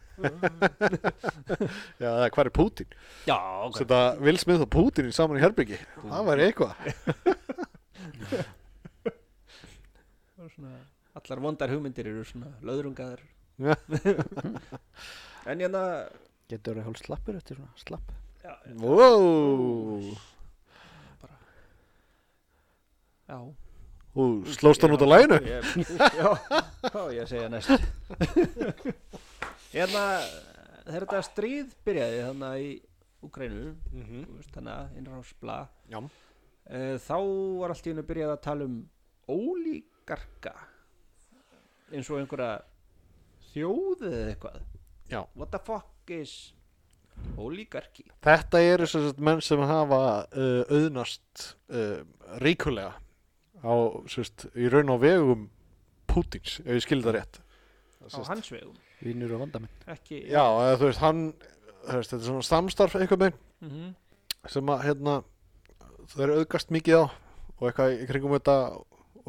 S1: já, það er hvar er Pútín
S2: Já,
S1: Setta Vilsmið og Pútín saman í herbyggi Það væri eitthvað
S2: svona, Allar vondar hugmyndir eru svona löðrungaðar
S1: Já.
S2: En hérna
S3: getur verið hálf slappur eftir svona slapp
S1: wow.
S2: Já
S1: Hú, slóst hann út á læginu
S2: Ég- Já, hvað á ég að segja næst Hérna þegar þetta stríð byrjaði þannig að í Ukrænu þú veist, þannig að innránsbla
S1: Já.
S2: uh, þá var allt í hennu byrjað að tala um ólíkarka eins og einhverja þjóð eða eitthvað
S1: Já.
S2: What the fuck is ólíkarki
S1: Þetta eru sem sagt menn sem hafa uh, auðnast uh, ríkulega á, sem sagt, í raun og vegum Pútins, ef ég skildi það rétt
S2: á hans vegum
S3: vinnur og vandamenn
S2: ekki
S1: Já, eða, þú veist, hann þú veist, þetta er svona samstarf einhvern veginn
S2: Mhm.
S1: sem að, hérna, það er auðgast mikið á og eitthvað í kringum þetta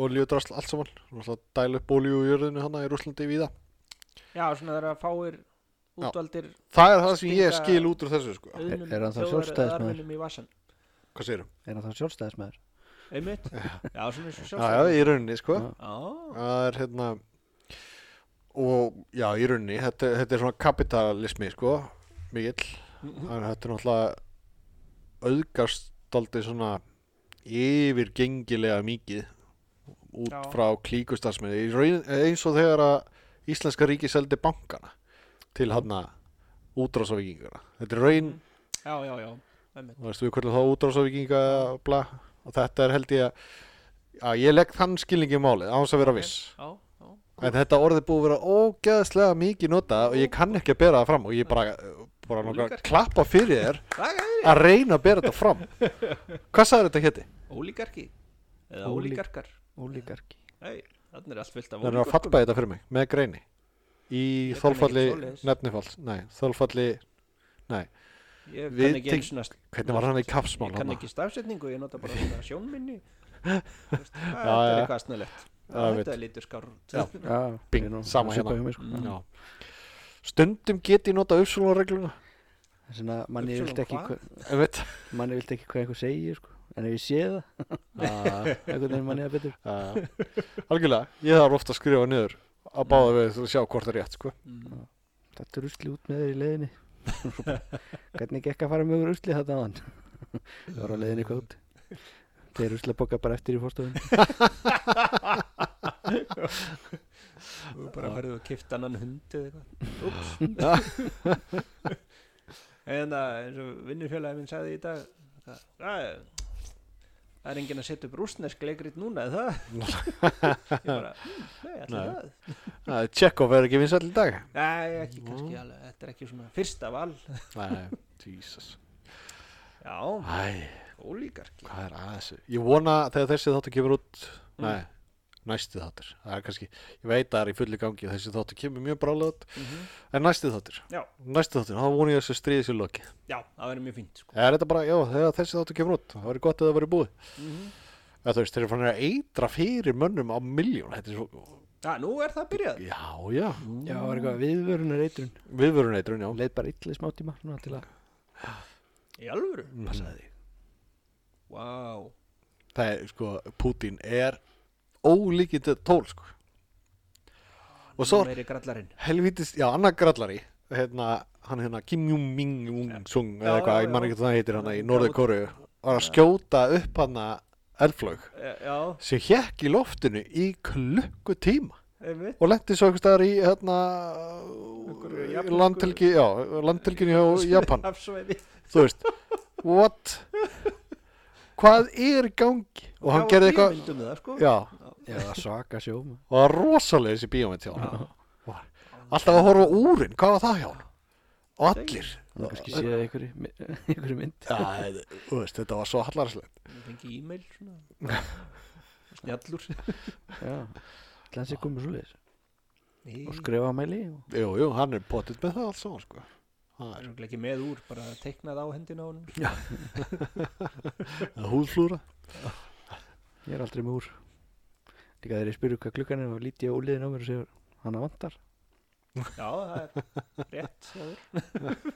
S1: olíudrasl allt saman Náttúrulega dæla upp olíu í jörðinu hana í Rúslandi víða
S2: Já, svona þegar að fáir útvaldir
S1: Það er það sem ég
S2: Stinga-
S1: skil út úr þessu, sko
S2: auðnum
S3: er hann þá
S2: þjóðar-
S3: sjálfstæðismaður?
S2: arfinum í vassan
S1: Hvað segirðu?
S3: er hann þá sjálfstæðismæður
S2: einmitt, já svona
S1: Já, já,
S2: eins og sjálfstæðismaður
S1: í rauninni, sko
S3: Já.
S2: já,
S1: það er hérna og já, í rauninni þetta, þetta er svona kapitalismi sko, mikill þannig að þetta er náttúrulega auðgast daldið svona yfirgengilega mikið út
S2: Já.
S1: frá klíkustarfsmenni Í raun- eins og þegar að íslenska ríki seldi bankana til hann að útrásavíkingana þetta er raun,
S2: já, já, já, einmitt
S1: þú veist við hvernig þá útrásavíkinga bla, og þetta er held ég að, að ég legg þann skilningi í málið án þess að vera viss
S2: já, já,
S1: En þetta orðið búið að vera ógeðslega mikið nota og ég kann ekki að bera það fram og ég bara, bara nokkar klappa fyrir þér að reyna að bera þetta fram. Hvað sagði þetta hétti?
S2: ólíkarki eða
S3: Ólí-
S2: ólíkarkar
S3: ólíkarki
S2: Nei, þannig er allt fyllt
S1: Það er
S2: af
S1: að
S2: ólíkarkum
S1: falla þetta fyrir mig með greini í
S2: Ég kann
S1: þólfalli
S2: ekkert svoleiðis.
S1: nefnifalls. Nei, þólfalli,
S2: ég
S1: við
S2: kann ekki eins
S1: tenk-
S2: og
S1: hvernig var hann í
S2: ég
S1: kapsmál
S2: kann
S1: hann?
S2: ekki stafsetningu, ég nota bara svona sjónminni Þú veist, það
S1: Já,
S2: þetta er
S1: já.
S2: eitthvað snöðlegt
S1: Já, ég
S2: þetta er lítur skár út.
S1: Já.
S3: já,
S1: Bing,
S3: ég er nú
S1: sama
S3: svipað
S1: hérna.
S3: hjá mér, sko.
S1: Já. Stundum get ég nota uppsvöluregluna,
S3: þess vegna manni
S2: Uppsölum
S3: vilt ekki
S2: hvað?
S3: hvað-
S1: ef veit.
S3: manni vilt ekki hvað eitthvað segir sko. en ef ég sé það
S1: Ah,
S3: einhvern veginn manni að betur
S1: ah. Algjörlega, ég þarf ofta að skrifa niður að báða við þú sjá hvort það er rétt, sko.
S2: Mm.
S3: þetta er usli út með þér í leiðinni hvernig gekk að fara með úr usli þetta aðan það var á leiðinni eitthvað út þeir usli að boka bara eftir í fórstofun
S2: Þú bara færðu og kipta annan hund eða eitthvað Úps En það, eins og vinnufélagi minn sagði í dag hvað, Það er- það er enginn að setja upp rúsnesk leikrit núna eða það Ég bara, "Hm, nei, allir
S1: Nei.
S2: það
S1: Ah, Tjekkof er ekki vinsall í dag.
S2: Nei, ekki kannski alveg, þetta er ekki svona fyrsta val
S1: Nei, Jesus
S2: Já,
S1: Æ,
S2: ólíkarki
S1: hvað er að þessu? Ég vona þegar þessi þáttu kemur út Nei, næsti þáttur Það er kannski, ég veit að það er í fullu gangi Þessi þáttu kemur mjög brálega út
S2: Mhm.
S1: En næsti þáttur,
S2: Já,
S1: næsti þáttur, þá vona ég þessu stríði sér loki
S2: já, það verður mjög fínt sko.
S1: Er þetta bara, já, þegar þessi þáttu kemur út Það verður gott að það verður búið
S2: Mhm.
S1: Það þú veist, þeir eru fannig að eitra fyrir mönnum á miljón Þetta er svo,
S2: Já, nú er það byrjað
S1: já, já
S3: já, það var eitthvað viðvörunar eitrun
S1: Viðvörun eitrun, já
S3: leið bara illa í smá tíma svona, til að
S2: Í alvöru
S1: Passaði þig
S2: Vá
S1: það er sko, Putin er ólíkind tól sko. og svo
S2: nú meiri grallarinn
S1: helvítist, já, annar grallari hérna, hann hérna Kim Jong-ming Jong-sung
S2: Já,
S1: eða eitthvað,
S2: já,
S1: ég man
S2: já.
S1: ekki hvað það heitir hann í
S2: Já,
S1: Norður
S2: já.
S1: Kóru var að skjóta upp hann eldflög
S2: E, Já,
S1: sem hjekk í loftinu í klukku tíma
S2: einmitt
S1: og lendi svo einhvers staðar í hérna,
S2: Einhverju
S1: í
S2: japönsku-
S1: landhelgi, já, landhelginu hjá Japan
S2: Hafsvæði
S1: þú veist, what hvað er í gangi og hann gerði eitthvað
S2: myndum það sko
S1: já,
S3: já, það var svaka sjóm
S1: og það var rosalega þessi bíómynd hjá hann Var- alltaf að horfa á úrin, hvað var það hjá hann og allir
S3: það er kannski séð einhverju einhverju mynd
S1: Já, þetta- þú veist, þetta var svo hallarslegt
S2: Ég fengi e-mail svona Snjallur
S3: já, glansi komið svo leiðis
S2: Nei,
S3: og skrifa mæli og
S1: jú, jú, hann er potið með það alls saman sko. Það
S2: það
S1: er
S2: er örugglega ekki með úr bara teiknað á hendina á honum
S1: húðflúra
S3: ég er aldrei með úr líka þegar ég spyrir hvað klukkan er og lít ég á úliðin á mér og segir hana vantar
S2: Já, það er rétt það er.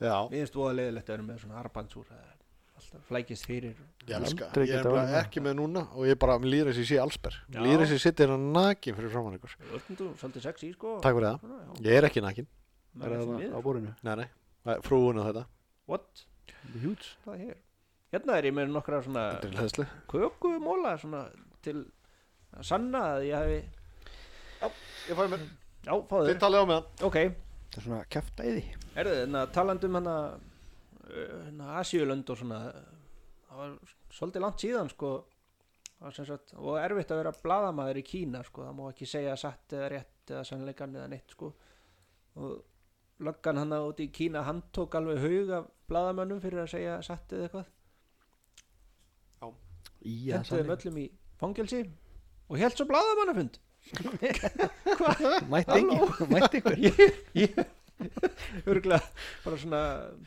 S1: já,
S2: Mér finnst voða leiðilegt að vera með svona arbandsúr það er Alltaf flækist fyrir
S1: ég elska
S3: Aldrei
S1: ég er
S3: geta orðið
S1: bara
S3: það.
S1: ekki með núna og ég bara, mér líður þessi sé allsber
S2: Já.
S1: mér líður þessi sittir hann hérna nakin fyrir framann ykkur
S2: Öllum þú, svolítið sexy sko
S1: takk fyrir það,
S2: Svona, já.
S1: ég er ekki nakin
S3: er
S2: maður er
S3: það
S2: því
S3: þarna á
S2: miður.
S3: borinu
S1: Nei, nei, nei frúin á þetta
S2: What?
S3: Hjúts
S2: Hvað er hér? Hérna er ég með nokkra svona
S1: Þetta er hlæðslu
S2: kökumóla svona til að sanna að ég hefði
S1: Ég fæði mér
S2: Já, fáðu
S1: Þið talið á meðan
S2: Ok,
S3: Það er svona kjaftaði
S2: erðu þið, talandi um hana uh, hana Asíulönd og svona uh, það var svolítið langt síðan sko það var sem sagt, og erfitt að vera bladamaður í Kína sko, það má ekki segja satt eða rétt eða sannleikan eða neitt sko og löggan hann út í Kína handtók alveg haug af bladamönnum fyrir að segja satt eða eitthvað
S3: Í að
S2: henduðum
S3: sannleika.
S2: öllum í fangelsi og held svo bladamannafund hvað?
S3: Mætti
S2: Halló?
S3: ekki Mætti ykkur
S2: ég, ég örgulega bara svona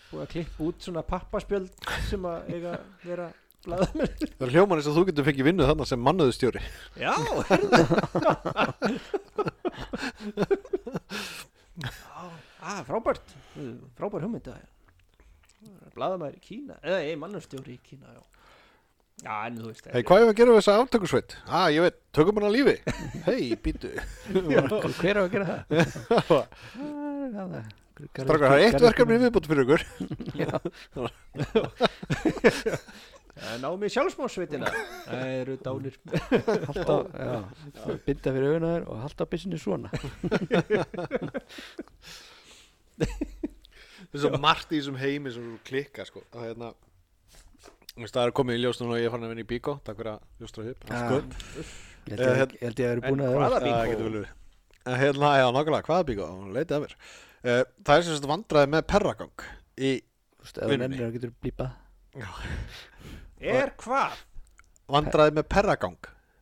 S2: búið að klippa út svona pappaspjöld sem að eiga að vera blaðamenn
S1: Það er hljóman eins og þú getur fengið vinnu þarna sem mannöðustjóri
S2: já, herðu já, að, frábært frábær hugmynd að blaðamenn í Kína eða ég mannustjóri í Kína já, já en þú veist
S1: Hei, hvað er að gera við þessa aftökusveit? Ah, ég veit, tökum hann að lífi Hei, býtu
S3: Hver á að gera það?
S1: Strákar, það er eitt verkefni viðbútt fyrir ykkur
S2: hvað náðum í sjálfsmásveitina það eru dánir
S3: Halda, já, binda fyrir augun á þér og halda byssinni svona
S1: Það er svo margt í þessum heimi sem þú klikka sko. að hérna þú veist, það er komið í ljós núna og ég er farin að vinna í bíkó takk fyrir að ljóstra upp
S3: Ah,
S1: sko. Eh,
S3: Ég held ég- ég held ég að eru búin
S2: en
S3: að
S2: hvaða
S3: það
S2: bíkó?
S1: það getur vel verið En hérna, já, nákvæmlega, hvaða bíkó? Hún leitið að mér Eh, Það er sem sagt vandræði með perragang í
S3: Eða
S1: vinnunni.
S3: nefnir að getur blípað
S2: er hvað?
S1: vandræði með perragang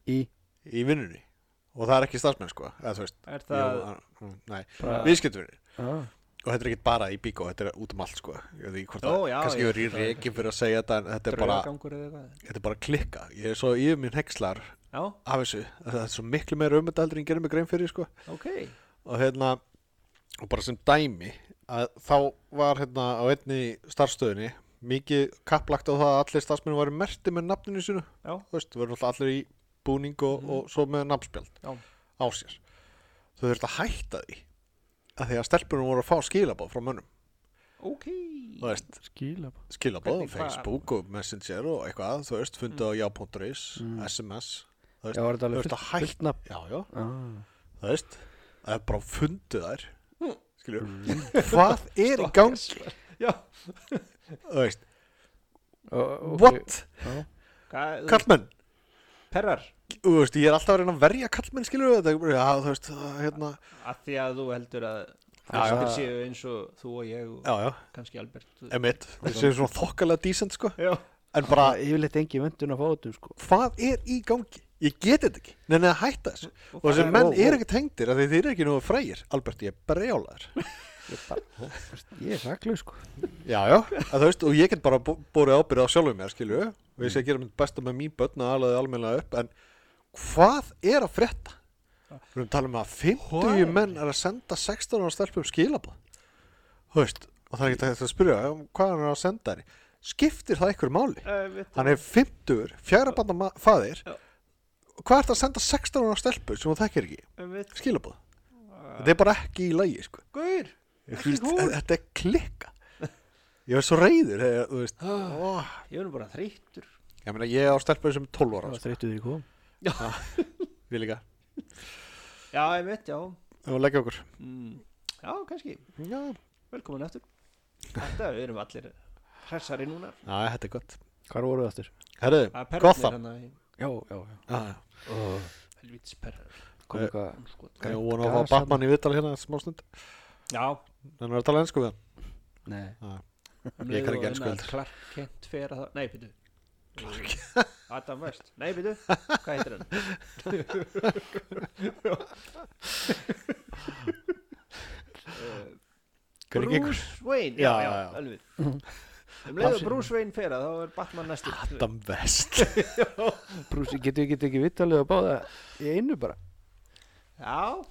S3: Í
S1: í vinnunni og það er ekki starfsmenn sko eða þú veist
S2: er það
S1: jú, að- mm, Nei,
S2: Bara-
S1: viðskiptvinni
S3: Já,
S1: og þetta er ekkert bara í bíkó, þetta er út um allt sko ég veit ekki hvort
S2: Ó,
S1: það,
S2: já,
S1: kannski
S2: já,
S1: ég verið í
S2: það er
S1: reikin fyrir að segja þetta en þetta er bara,
S2: draugagangur eða eitthvað
S1: þetta er bara klikka ég er svo yfir minn hekslar
S2: já,
S1: af þessu að það er svo miklu meira um þetta heldur en gerir mig grein fyrir sko
S2: ok
S1: og hérna og bara sem dæmi að þá var hérna á einni starfstöðinni mikið kapplagt á það að allir starfsmenn varu merti með nafninu sínu
S2: já,
S1: þú veist, við erum alltaf allir í búning og, og svo með nafnspjald
S2: Mhm. já
S1: á sér þau þurft að hætta því að því að stelpunum voru að fá skilabóð frá mönnum
S2: Ok
S1: þú veist,
S3: skila bara
S1: skilabóð,
S2: Mm. Hvernig, hvað- Mm.
S1: Facebook og Messenger og eitthvað, þú veist, fundið á já.is SMS, þú
S3: Já,
S1: veist,
S3: var þetta
S1: þú
S3: alveg
S1: veist að
S3: fullt,
S1: hætta
S3: fullt nafn
S1: já, já,
S3: ah.
S1: það veist það er bara fundu þær skilju,
S3: Mm.
S1: hvað er í gang
S2: Já
S1: það veist,
S3: Ó, ok.
S1: what,
S3: Já.
S2: Hvað,
S1: kallmenn
S2: Perrar
S1: þú veist, ég er alltaf að reyna að verja kallmenn skilju, þetta er bara, já, þú veist það, hérna,
S2: Að því að þú heldur að
S1: Já, já.
S2: Flestir séu eins og þú og ég og
S1: já, já,
S2: kannski Albert
S1: emitt við séum svona þokkalega dísent, sko
S2: Já
S1: en bara,
S3: Ég vil eitthvað engi vöndun að fótum sko
S1: hvað er í gangi ég get þetta ekki, neina að hætta þessu og þessi
S3: það-
S1: menn
S3: og-
S1: er ekki tengdir af því þeir eru ekki nú frægir, Albert, ég er brjálaður
S3: Ég, bara, ég er saklega sko
S1: Já, já, að þú veist, og ég get bara bó- borið ábyrðið á sjálfum mér, skilju og ég sé að gera mitt besta með mín börn að alaði almennilega upp en hvað er að frétta? Við erum að tala um að 50 menn er að senda 16 ára stelpum skilabóð þú veist, og það er ekki hægt að spyrja "Já, hvað hann er að senda henni skiptir það ykkur máli? Hann er 50, fjara banda faðir
S2: Já.
S1: hvað ert að senda 16 ára stelpum sem hún þekkir ekki? Skilabóð Þetta er bara ekki í lagi, sko
S2: Guður
S1: Ég
S2: Ekki
S1: finnst,
S2: hún.
S1: þetta er klikka Ég var svo reyður þegar, þú veist ó,
S2: Ég er nú bara þreyttur
S1: Ég meina, ég á stelpur sem er 12 ára
S3: Það
S1: sko.
S3: var þreyttu þegar ég kom
S1: Við líka
S2: Já, ég veit, já
S1: Og leggja okkur
S2: mm. Já, kannski
S1: Já,
S2: Velkomin aftur Þetta við erum allir hressari núna
S1: Já, þetta er gott
S3: Hvar voru það aftur?
S1: Herðu,
S2: Að perrarnir
S1: Gotham Ah,
S2: hana í-
S3: Já, já, já
S1: Já, já.
S2: Helvítis perrar
S3: Kom
S1: Eh,
S3: eitthvað
S2: Andskot.
S1: Ég vona að
S3: Gas
S1: fá Batman í viðtal hérna smá stund
S2: Já
S1: Þannig er að tala ennsku við hann
S3: Nei
S2: um
S1: Ég
S2: leið
S1: kann
S2: og
S1: ekki ensku
S2: hérna
S1: heldur.
S2: Clark Kent fer að það Nei, býtu Adam West Nei, býtu Hvað heitir hann? Eh,
S1: Hvernig gengur?
S2: Bruce Wayne
S1: Já,
S2: Já, já,
S1: já, já.
S2: alveg Um leið og Bruce Wayne fer að þá er Batman næstur
S1: Adam West
S3: Brúsi, getur við getur ekki vittalið að báða í einu bara
S2: Já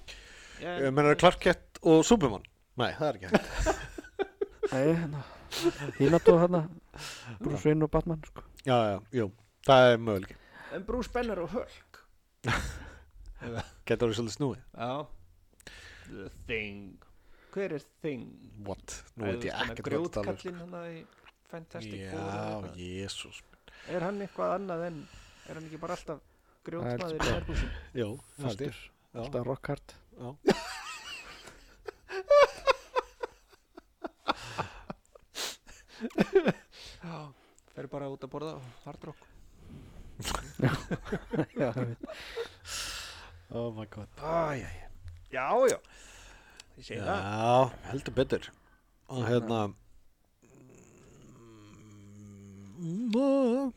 S1: Ég
S2: Ég
S1: meina, er Clark Kent og Superman Nei, það er ekki hægt
S3: Nei, hérna Hínató hérna Brúsi Svein og Batman sko
S1: Já, já, jú Það er möguleik
S2: En Bruce Banner og Hulk
S1: Getur það svolítið snúið
S2: Já The Thing hver er þing
S1: What? Nú veit ég ekkert hvað þetta talar um.
S2: grjótkallinn hann í Fantastic Four eða
S1: Já,
S2: eitthvað.
S1: jésús
S2: er hann eitthvað annað en er hann ekki bara alltaf grjótmaður í
S3: sko-
S2: herbúsum
S1: Jó,
S3: Fastur. alltaf rockhard
S2: já, fer bara út að borða og hardrock
S3: Já, ég veit.
S1: Oh my god Æ, æ, æ.
S2: já, já ég segi það
S1: Já, heldur betur Og hérna Mm, mm,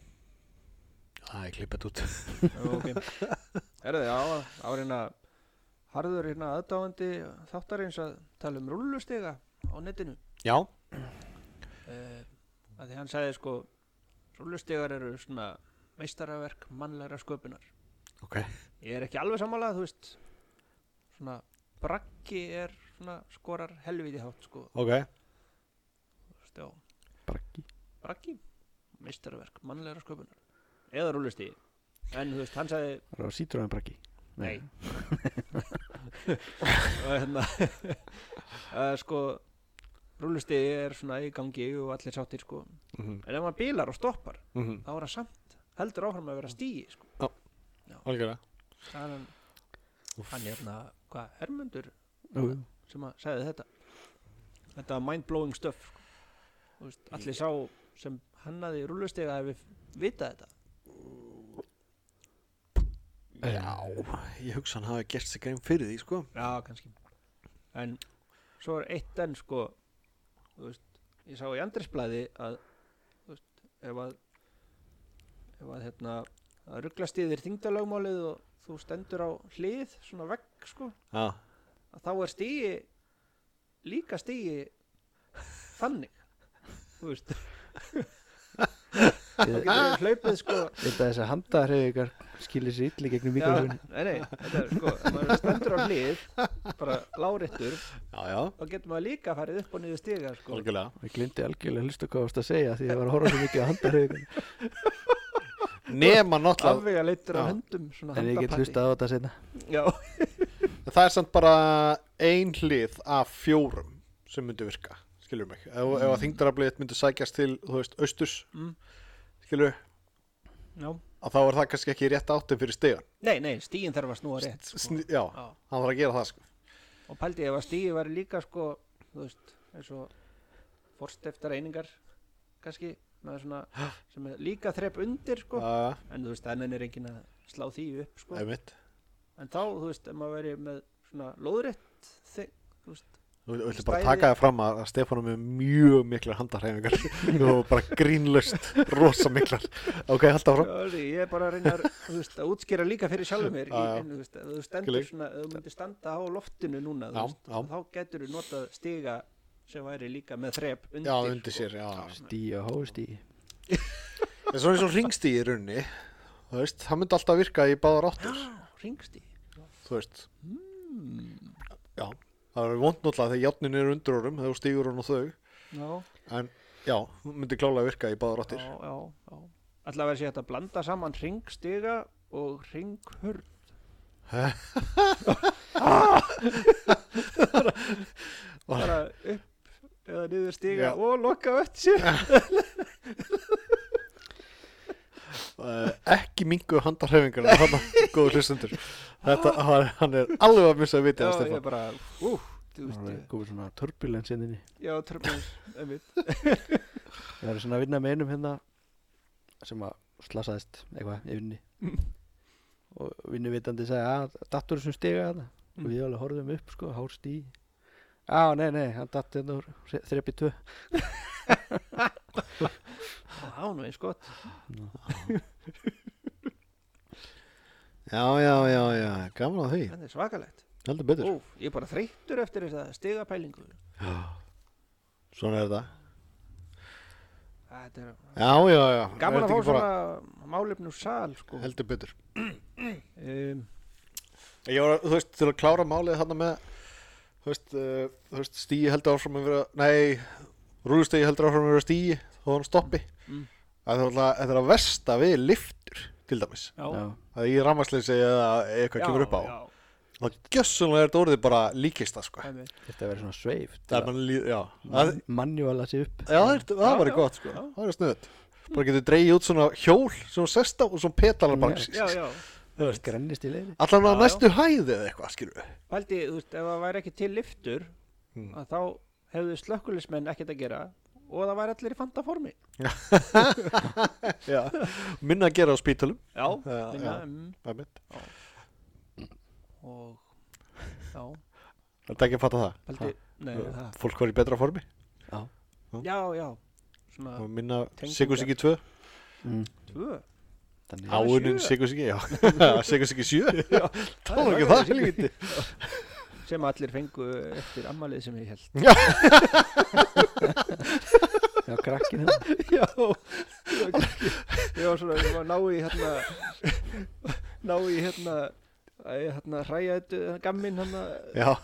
S1: Æ, ég klippa þetta út
S2: Jú, ok. Herðu, já, áriðna harður hérna aðdáandi þáttarins að tala um rullustiga á netinu
S1: Já,
S2: uh, að því hann sagði sko rullustigar eru svona meistaraverk mannlegra sköpunar
S1: ok
S2: ég er ekki alveg sammála þú veist svona braggi er svona skorar helviti hátt sko
S1: Ok,
S2: þú veist, já,
S3: Braggi
S2: braggi meistaraverk mannlegra sköpunar eða rullustigi en þú veist hann sagði
S3: Það var sítróðan braggi
S2: Nei. og hérna uh, sko rullustigi er svona í gangi og allir sáttir sko en
S1: Mhm,
S2: ef maður bílar og stoppar
S1: mhm.
S2: þá er hann samt heldur áfram að vera stíi sko.
S1: Algjörlega
S2: Það er hann hann hérna, hvað, Hermundur
S3: Jú, jú.
S2: sem að segði þetta þetta var mindblowing stuff sko. Þú veist, allir sá sem hannaði rúlustega hefði vitað þetta
S1: Já, ég hugsa hann hafi gert sig grein fyrir því, sko
S2: já, kannski en svo er eitt enn sko þú veist, ég sá í Andrisblæði að þú veist, ef að ef að hérna að rugglast í þér þingdalögmálið og þú stendur á hlið svona vegg sko,
S1: Já,
S2: að þá er stíi líka stíi þannig þú veist,
S3: Ég-
S2: það
S3: ég
S2: getur hlaupið sko
S3: held að þessi handahreyfingar skilir sér illi gegnum mikrofónu
S2: Já, nei, nei, þetta er sko, ef maður stendur á hlið, bara láréttur,
S1: já, já,
S2: þá getur maður líka farið upp og niður stiga, sko.
S1: algjörlega
S3: Ég glindi algjörlega að hlusta hvað þú varst að segja því ég var að horfa svo mikið á handahreyfingar
S1: Nema náttúrulega,
S2: Afvega leittur á
S1: Já.
S2: höndum, svona
S3: En ég get
S2: handapati.
S3: hlusta á þetta setna
S2: Já,
S1: það er samt bara ein hlið af fjórum sem myndi virka, skilur mig Ef, mm. ef að þingdarablið myndi sækjast til, þú veist, austurs
S2: Mm.
S1: skilur,
S2: já.
S1: að þá er það kannski ekki rétt áttin fyrir stegan
S2: Nei, nei, stíin þarf að snúa rétt, sko.
S1: Sni, Já,
S2: Já.
S1: hann þarf að gera það, sko
S2: Og pældi ég ef að stíi væri líka, sko, þú veist, eins og forsteftar einingar, kannski, með svona, sem er líka þrepp undir, sko.
S1: Já,
S2: En þú veist, þannig er enginn að slá því upp, sko.
S1: einmitt
S2: En þá, þú veist, ef maður verið með svona lóðrétt, þig, þú veist,
S1: Þú þú viltu bara
S2: Stæði-
S1: taka það fram að að Stefán er með mjög miklar handarhæfingar og bara grínlöst rosa miklar Ok, halda fram
S2: Já, því, ég er bara að reyna að, þú veist, að útskýra líka fyrir sjálfum mér í,
S1: Já, já.
S2: en, þú veist, ef þú stendur
S1: Skilji.
S2: svona, ef þú myndir standa á loftinu núna þú
S1: Já,
S2: veist,
S1: já.
S2: þá getur þú notað stiga sem væri líka með þrep undir,
S1: Já, undir
S2: sko.
S1: sér, já, já
S3: Stí og hóstí
S1: En svona eins og ringstíð í rauninni Þú veist, það myndi alltaf virka í báðar áttur
S2: Ah, ringstíg
S1: Þú veist
S2: Hmm.
S1: Já, það er vond náttúrulega þegar játnin er undir orðum þegar þú stígur hún og þau
S2: já,
S1: En já, hún myndi klálega virka í báðar
S2: já,
S1: áttir
S2: já, já. alltaf verið sér hægt að blanda saman ringstiga og ringhurð bara upp eða niður stiga
S1: Já.
S2: og loka vett sér
S1: uh, Ekki mingu handarhæfingar Þannig að góðu hlustendur Þetta, hann- hann er alveg að missa að
S2: já,
S1: vita
S2: ég
S1: Stefán
S2: bara, ú, þú veist eh,
S3: Það er
S2: ég-
S3: komið svona turbulence inn inni
S2: já, törmur, einmitt
S3: Ég var svona að vinna með einum hérna sem að slasaðist eitthvað í vinni
S1: Mm.
S3: og vinnuvitandi sagði að dattur sem stiga þarna og
S1: Mm.
S3: við alveg horfðum upp sko, hár stí Já, nei, nei, hann datt hérna úr þrepi tvö
S2: já, nú eins gott
S1: Já, já, já, já, gaman að því
S2: þetta er svakalegt
S1: Heldur betur
S2: Ó, ég er bara þreyttur eftir þess að stiga pælingu
S1: Svona er þetta
S2: Þetta er
S1: Já, já, já
S2: gaman
S1: Er þetta
S2: að fá
S1: ekki
S2: svona
S1: bara-
S2: málefn úr sal sko.
S1: Heldur betur
S2: um,
S1: Ég var, þú veist, til að klára málið þarna með þú veist, uh, þú veist stíi heldur áfram að vera, nei rúlustegi heldur áfram að vera stíi þó hann stoppi
S2: Mm.
S1: að það er alltaf, þetta er að versta við liftur til dæmis,
S2: Já,
S3: Já,
S1: að í rammarsleysi eða eitthvað kemur upp á
S2: já,
S1: það gjössunlega er þetta orðið bara líkista sko.
S2: það er mitt.
S3: þetta verið svona sveif
S1: það er mann líð, já
S2: Mm.
S1: það,
S3: mannjóala sér upp
S1: já, það, er, það væri gott sko.
S2: já.
S1: það væri snöð bara getur dreigið út svona hjól sem hún sest á og svona petalar bara
S2: já, já,
S1: Þú veist.
S3: grennist í leiði
S1: allan að
S2: Já, já.
S1: næstu hæði eða eitthvað skilur við
S2: pældi, þú veist, ef það væri ekki til liftur
S1: Mm.
S2: að þá hefðu slökkulismenn ekkert að gera og það væri allir í fanta formi
S1: Já, minna að gera á spítalum
S2: já,
S1: Já,
S2: minna,
S1: já.
S2: mm,
S1: það er mitt.
S2: og já,
S1: Það er ekki að fatta það
S2: pældi, nei, það
S1: fólk var í betra formi
S2: já, já, svona
S1: og minna
S2: Tengingar.
S1: Sigursiki 2
S3: mm.
S2: tvö
S3: þannig
S2: Já.
S3: að
S1: áunin
S2: sjö.
S1: Sigursiki, já Sigursiki 7 já, það var ekki það helviti
S2: sem allir fengu eftir ammalið sem ég held
S3: já, krakkin hérna
S2: já ég var svona, ég var ná í hérna ná í hérna að ég hérna hræja þetta gamminn hérna,
S1: Já,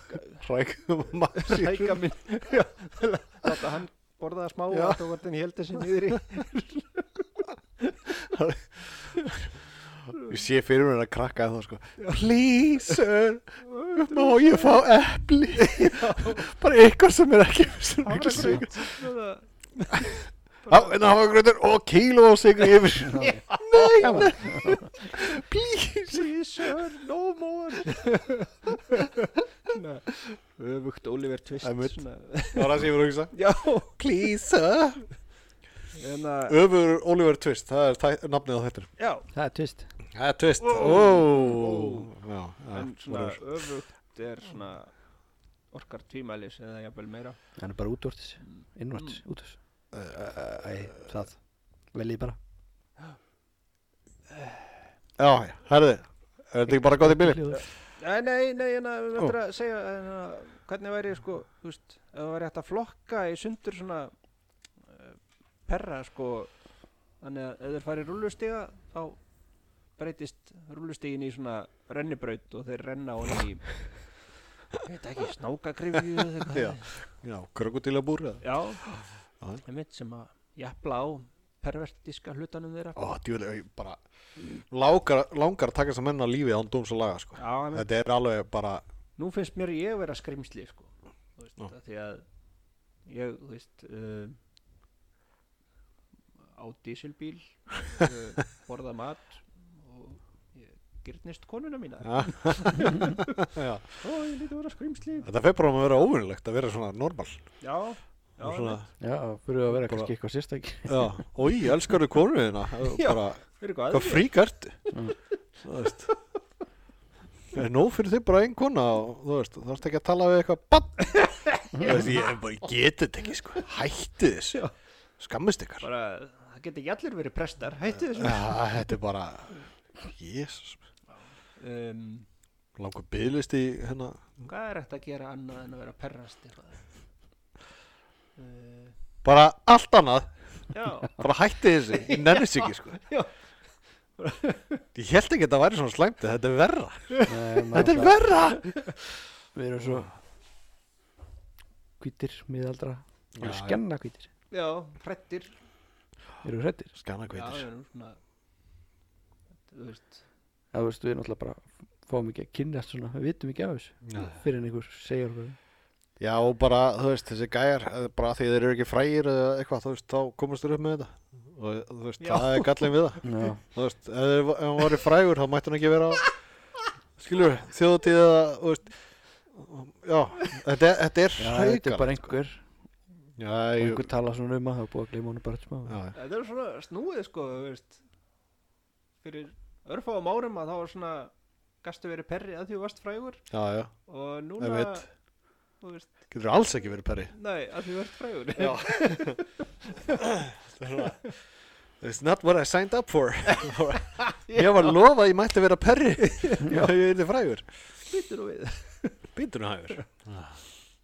S1: rækum maður
S2: hræja gamminn já, láta hann borða það smá
S1: Já.
S2: og þá var þenni held þessi niður í
S1: Ég sé fyrir mér að krakka það sko Please sir, má ég fá epli Bara eitthvað sem er ekki sem er ekki sigur.
S2: það
S1: Já, en það var gröður hérna, og kíló og sigur yfir Nei, nei, please
S2: sir, no more svona öfugt Oliver Twist
S1: Einmitt.
S2: svona.
S1: Það var það sem ég voru að hugsa
S2: já,
S1: Please sir
S2: en að
S1: Öfur Oliver Twist, það er tæ- nafnið á þetta
S2: hérna, já,
S3: það er tvist
S1: Það er Twist
S2: Ó.
S1: Ó. Já, já,
S2: en svona
S1: whatever.
S2: öfugt er svona orkar tvímælis eða jafnvel meira
S3: hann er bara útvortis innvortis
S1: Mm.
S3: útvors æ, það veljið bara
S1: Já, já, herði Er þetta ekki bara gott í bíli?
S3: Hljóður.
S2: Nei, nei, nei, en að við möttum að segja en að, hvernig væri, sko, þú veist ef það væri hægt að flokka í sundur svona uh, perra, sko þannig að ef þeir fari rúlustiga þá breytist rúlustigin í svona rennibraut og þeir renna á hann í ég veit ekki, snákakrifju eða eitthvað.
S1: Já. Já, krokodilabúr eða?
S2: Já,
S1: Já.
S2: það er mitt sem að jafla á pervertiska hlutanum þeirra
S1: Ó, djúlega, ég bara langar, langar að taka þess að menna lífi án dóms og laga, sko
S2: Já, einmitt.
S1: Þetta er alveg bara
S2: nú finnst mér ég vera skrimsli sko. þú veist,
S1: Já.
S2: að því að ég, þú veist uh, á dísilbíl uh, borða mat og ég gyrnist konuna mína
S1: Já, já.
S2: ó, ég líti að vera skrimsli
S1: Þetta fer bara um að vera óvinnilegt að vera svona normal
S2: já, já,
S1: og svona,
S2: einmitt.
S3: já, fyrir að vera
S1: Bara-
S3: kannski eitthvað sérstak
S1: já, oi, elskarðu konu þina
S2: Já.
S1: bara,
S2: fyrir hvað
S1: hvað
S2: aðrir.
S1: fríkart þú veist Er nóg fyrir þig bara ein kona og þú veist, þú þarfst ekki að tala við eitthvað bann Þú veist, ég er bara, ég get þetta ekki, sko Hætti þessu,
S2: Já.
S1: skammist ykkar Já,
S2: bara, það geti ekki allir verið prestar hættu þessu
S1: þetta er bara Jésus,
S2: um,
S1: langur byðlist í hérna
S2: hvað er hægt að gera annað en að vera perrast eitthvað uh,
S1: bara allt annað
S2: já,
S1: bara hætti þessu, ég nefnist ekki sko.
S2: já
S1: ég held ekki að þetta væri svona slæmt en þetta er verra, þetta
S3: þetta
S1: er verra
S3: við erum svo hvítir miðaldra við erum
S1: Já,
S3: skenna hvítir
S2: já, hrettir
S3: við erum hrættir
S1: skanna
S2: Já,
S1: kveitir
S2: við erum svona Þú veist
S3: Já, þú veist, við náttúrulega bara fáum ekki að kynnast svona, við vitum ekki af þessu
S1: Nei.
S3: fyrir en einhver segir okkur
S1: já og bara þú veist þessi gæjar eh, bara af því þeir eru ekki frægir eða eitthvað þú veist þá komast þeir upp með þetta og þú veist
S2: Já.
S1: það er gallin við það
S3: Já,
S1: þú veist ef, þeir- ef hann væri frægur þá mætti hann ekki vera á skilur þjóðtíð eða þú veist já þetta, er- þetta er
S3: já þetta er
S1: hrækal
S3: bara einhver
S1: já,
S3: og
S1: ég,
S3: einhver tala svona um að það er búið að gleyma honum bara eftir smá
S1: já,
S2: Þetta er svona snúið sko þú veist Fyrir örfáum árum að þá var svona Gastu verið perri að því þú varst frægur
S1: já, já
S2: Og núna
S1: Einmitt.
S2: Þú veist,
S1: getur alls ekki verið perri
S2: nei, að því þú ert frægur
S1: Já Það er svona, It's not what I signed up for Ég var lofað að ég mætti vera perri og ég er þið frægur
S2: Býtur nú við
S1: Býtur nú hægur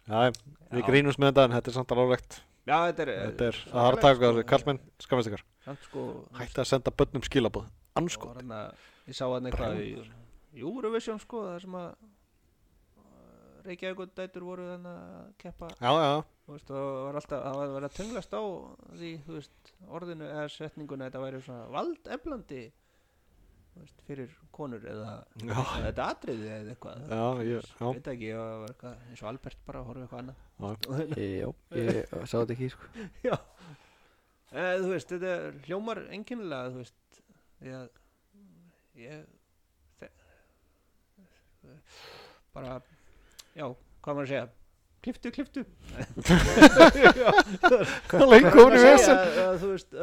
S1: Já, við grínumst með þetta en þetta er samt alveg álegt
S2: Já, þetta er
S1: Þetta er sko. að harta taka þessu kallmenn skammast ykkar
S2: Samt sko
S1: Hætti að senda börnum skilabóð
S2: sko
S1: Anskot
S2: hana, Ég sá hann eitthvað í í Eurovision sko Það sem að Reykjavík dætur voru þannig að keppa
S1: Já, já,
S2: Þú veist, og það var alltaf, það var verið að tunglast á því, þú veist, orðinu eða setninguna, þetta væri svona valdeflandi þú veist, fyrir konur eða
S1: Já.
S2: eða þetta atriði eða eitthvað
S1: Já, ég, já,
S2: veit ekki, ég var eitthvað eins og Albert bara horfði eitthvað annað
S1: já,
S2: Og-
S3: Jó, ég sá þetta ekki sko.
S2: já Eh, þú veist, þetta er hljómar enginlega, þú veist ég, ég þe- bara já, hvað maður að segja kliftu, kliftu já,
S1: lengur komin í vesen
S2: að, að, þú veist uh,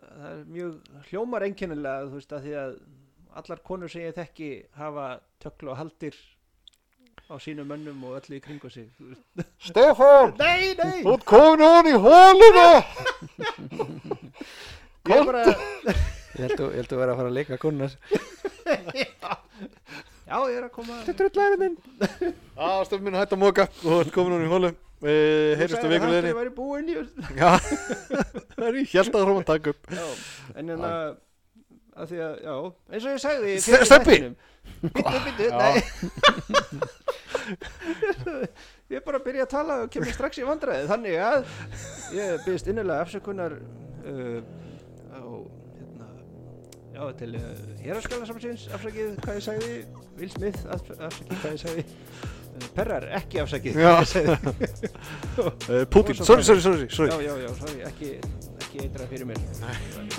S2: það er mjög hljómar einkennilega þú veist að því að allar konur sem ég þekki hafa töklu og haldir á sínum mönnum og öllu í kringu sig þú veist.
S1: Stefán,
S2: nei, nei
S1: þú ert komin ofan í hóluna
S2: ég er bara,
S3: Ég held að- ég held að vera að fara að leika konunas
S2: já, ég er að koma
S3: Þetta er öllæri minn
S1: Já, stefn minn hætt að móka, þú ert komin ofan í hólu Við heyrjumst á vikuleginni
S2: ég væri búin ég,
S1: Já, það er í hjálta að hróma að taka upp
S2: já, en en að að því að, já, eins og ég sagði
S1: Se- Stebbi!
S2: Bittu, bittu,
S1: Já.
S2: nei Ég er bara að byrja að tala og kemur strax í vandræði Þannig að ég byrðist innilega afsökunar uh, á, hérna, já, til uh, héraskjála samsins afsakið hvað ég sagði Will Smith af- afsakið hvað ég sagði uh, Perrar ekki afsakið
S1: Já.
S2: hvað ég sagði
S1: Eh, Putin, sorry, sorry, sorry, sorry,
S2: Já, já, já, sorry, ekki, ekki eitra fyrir mér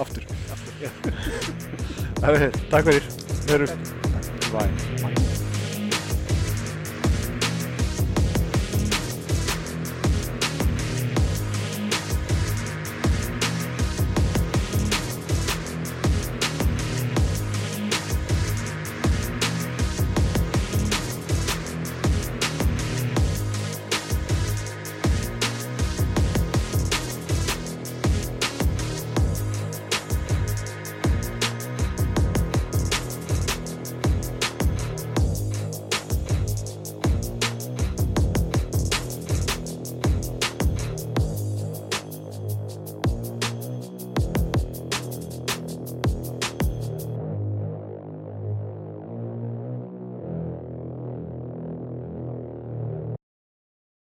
S1: aftur Herri, Takk fyrir, við erum Bye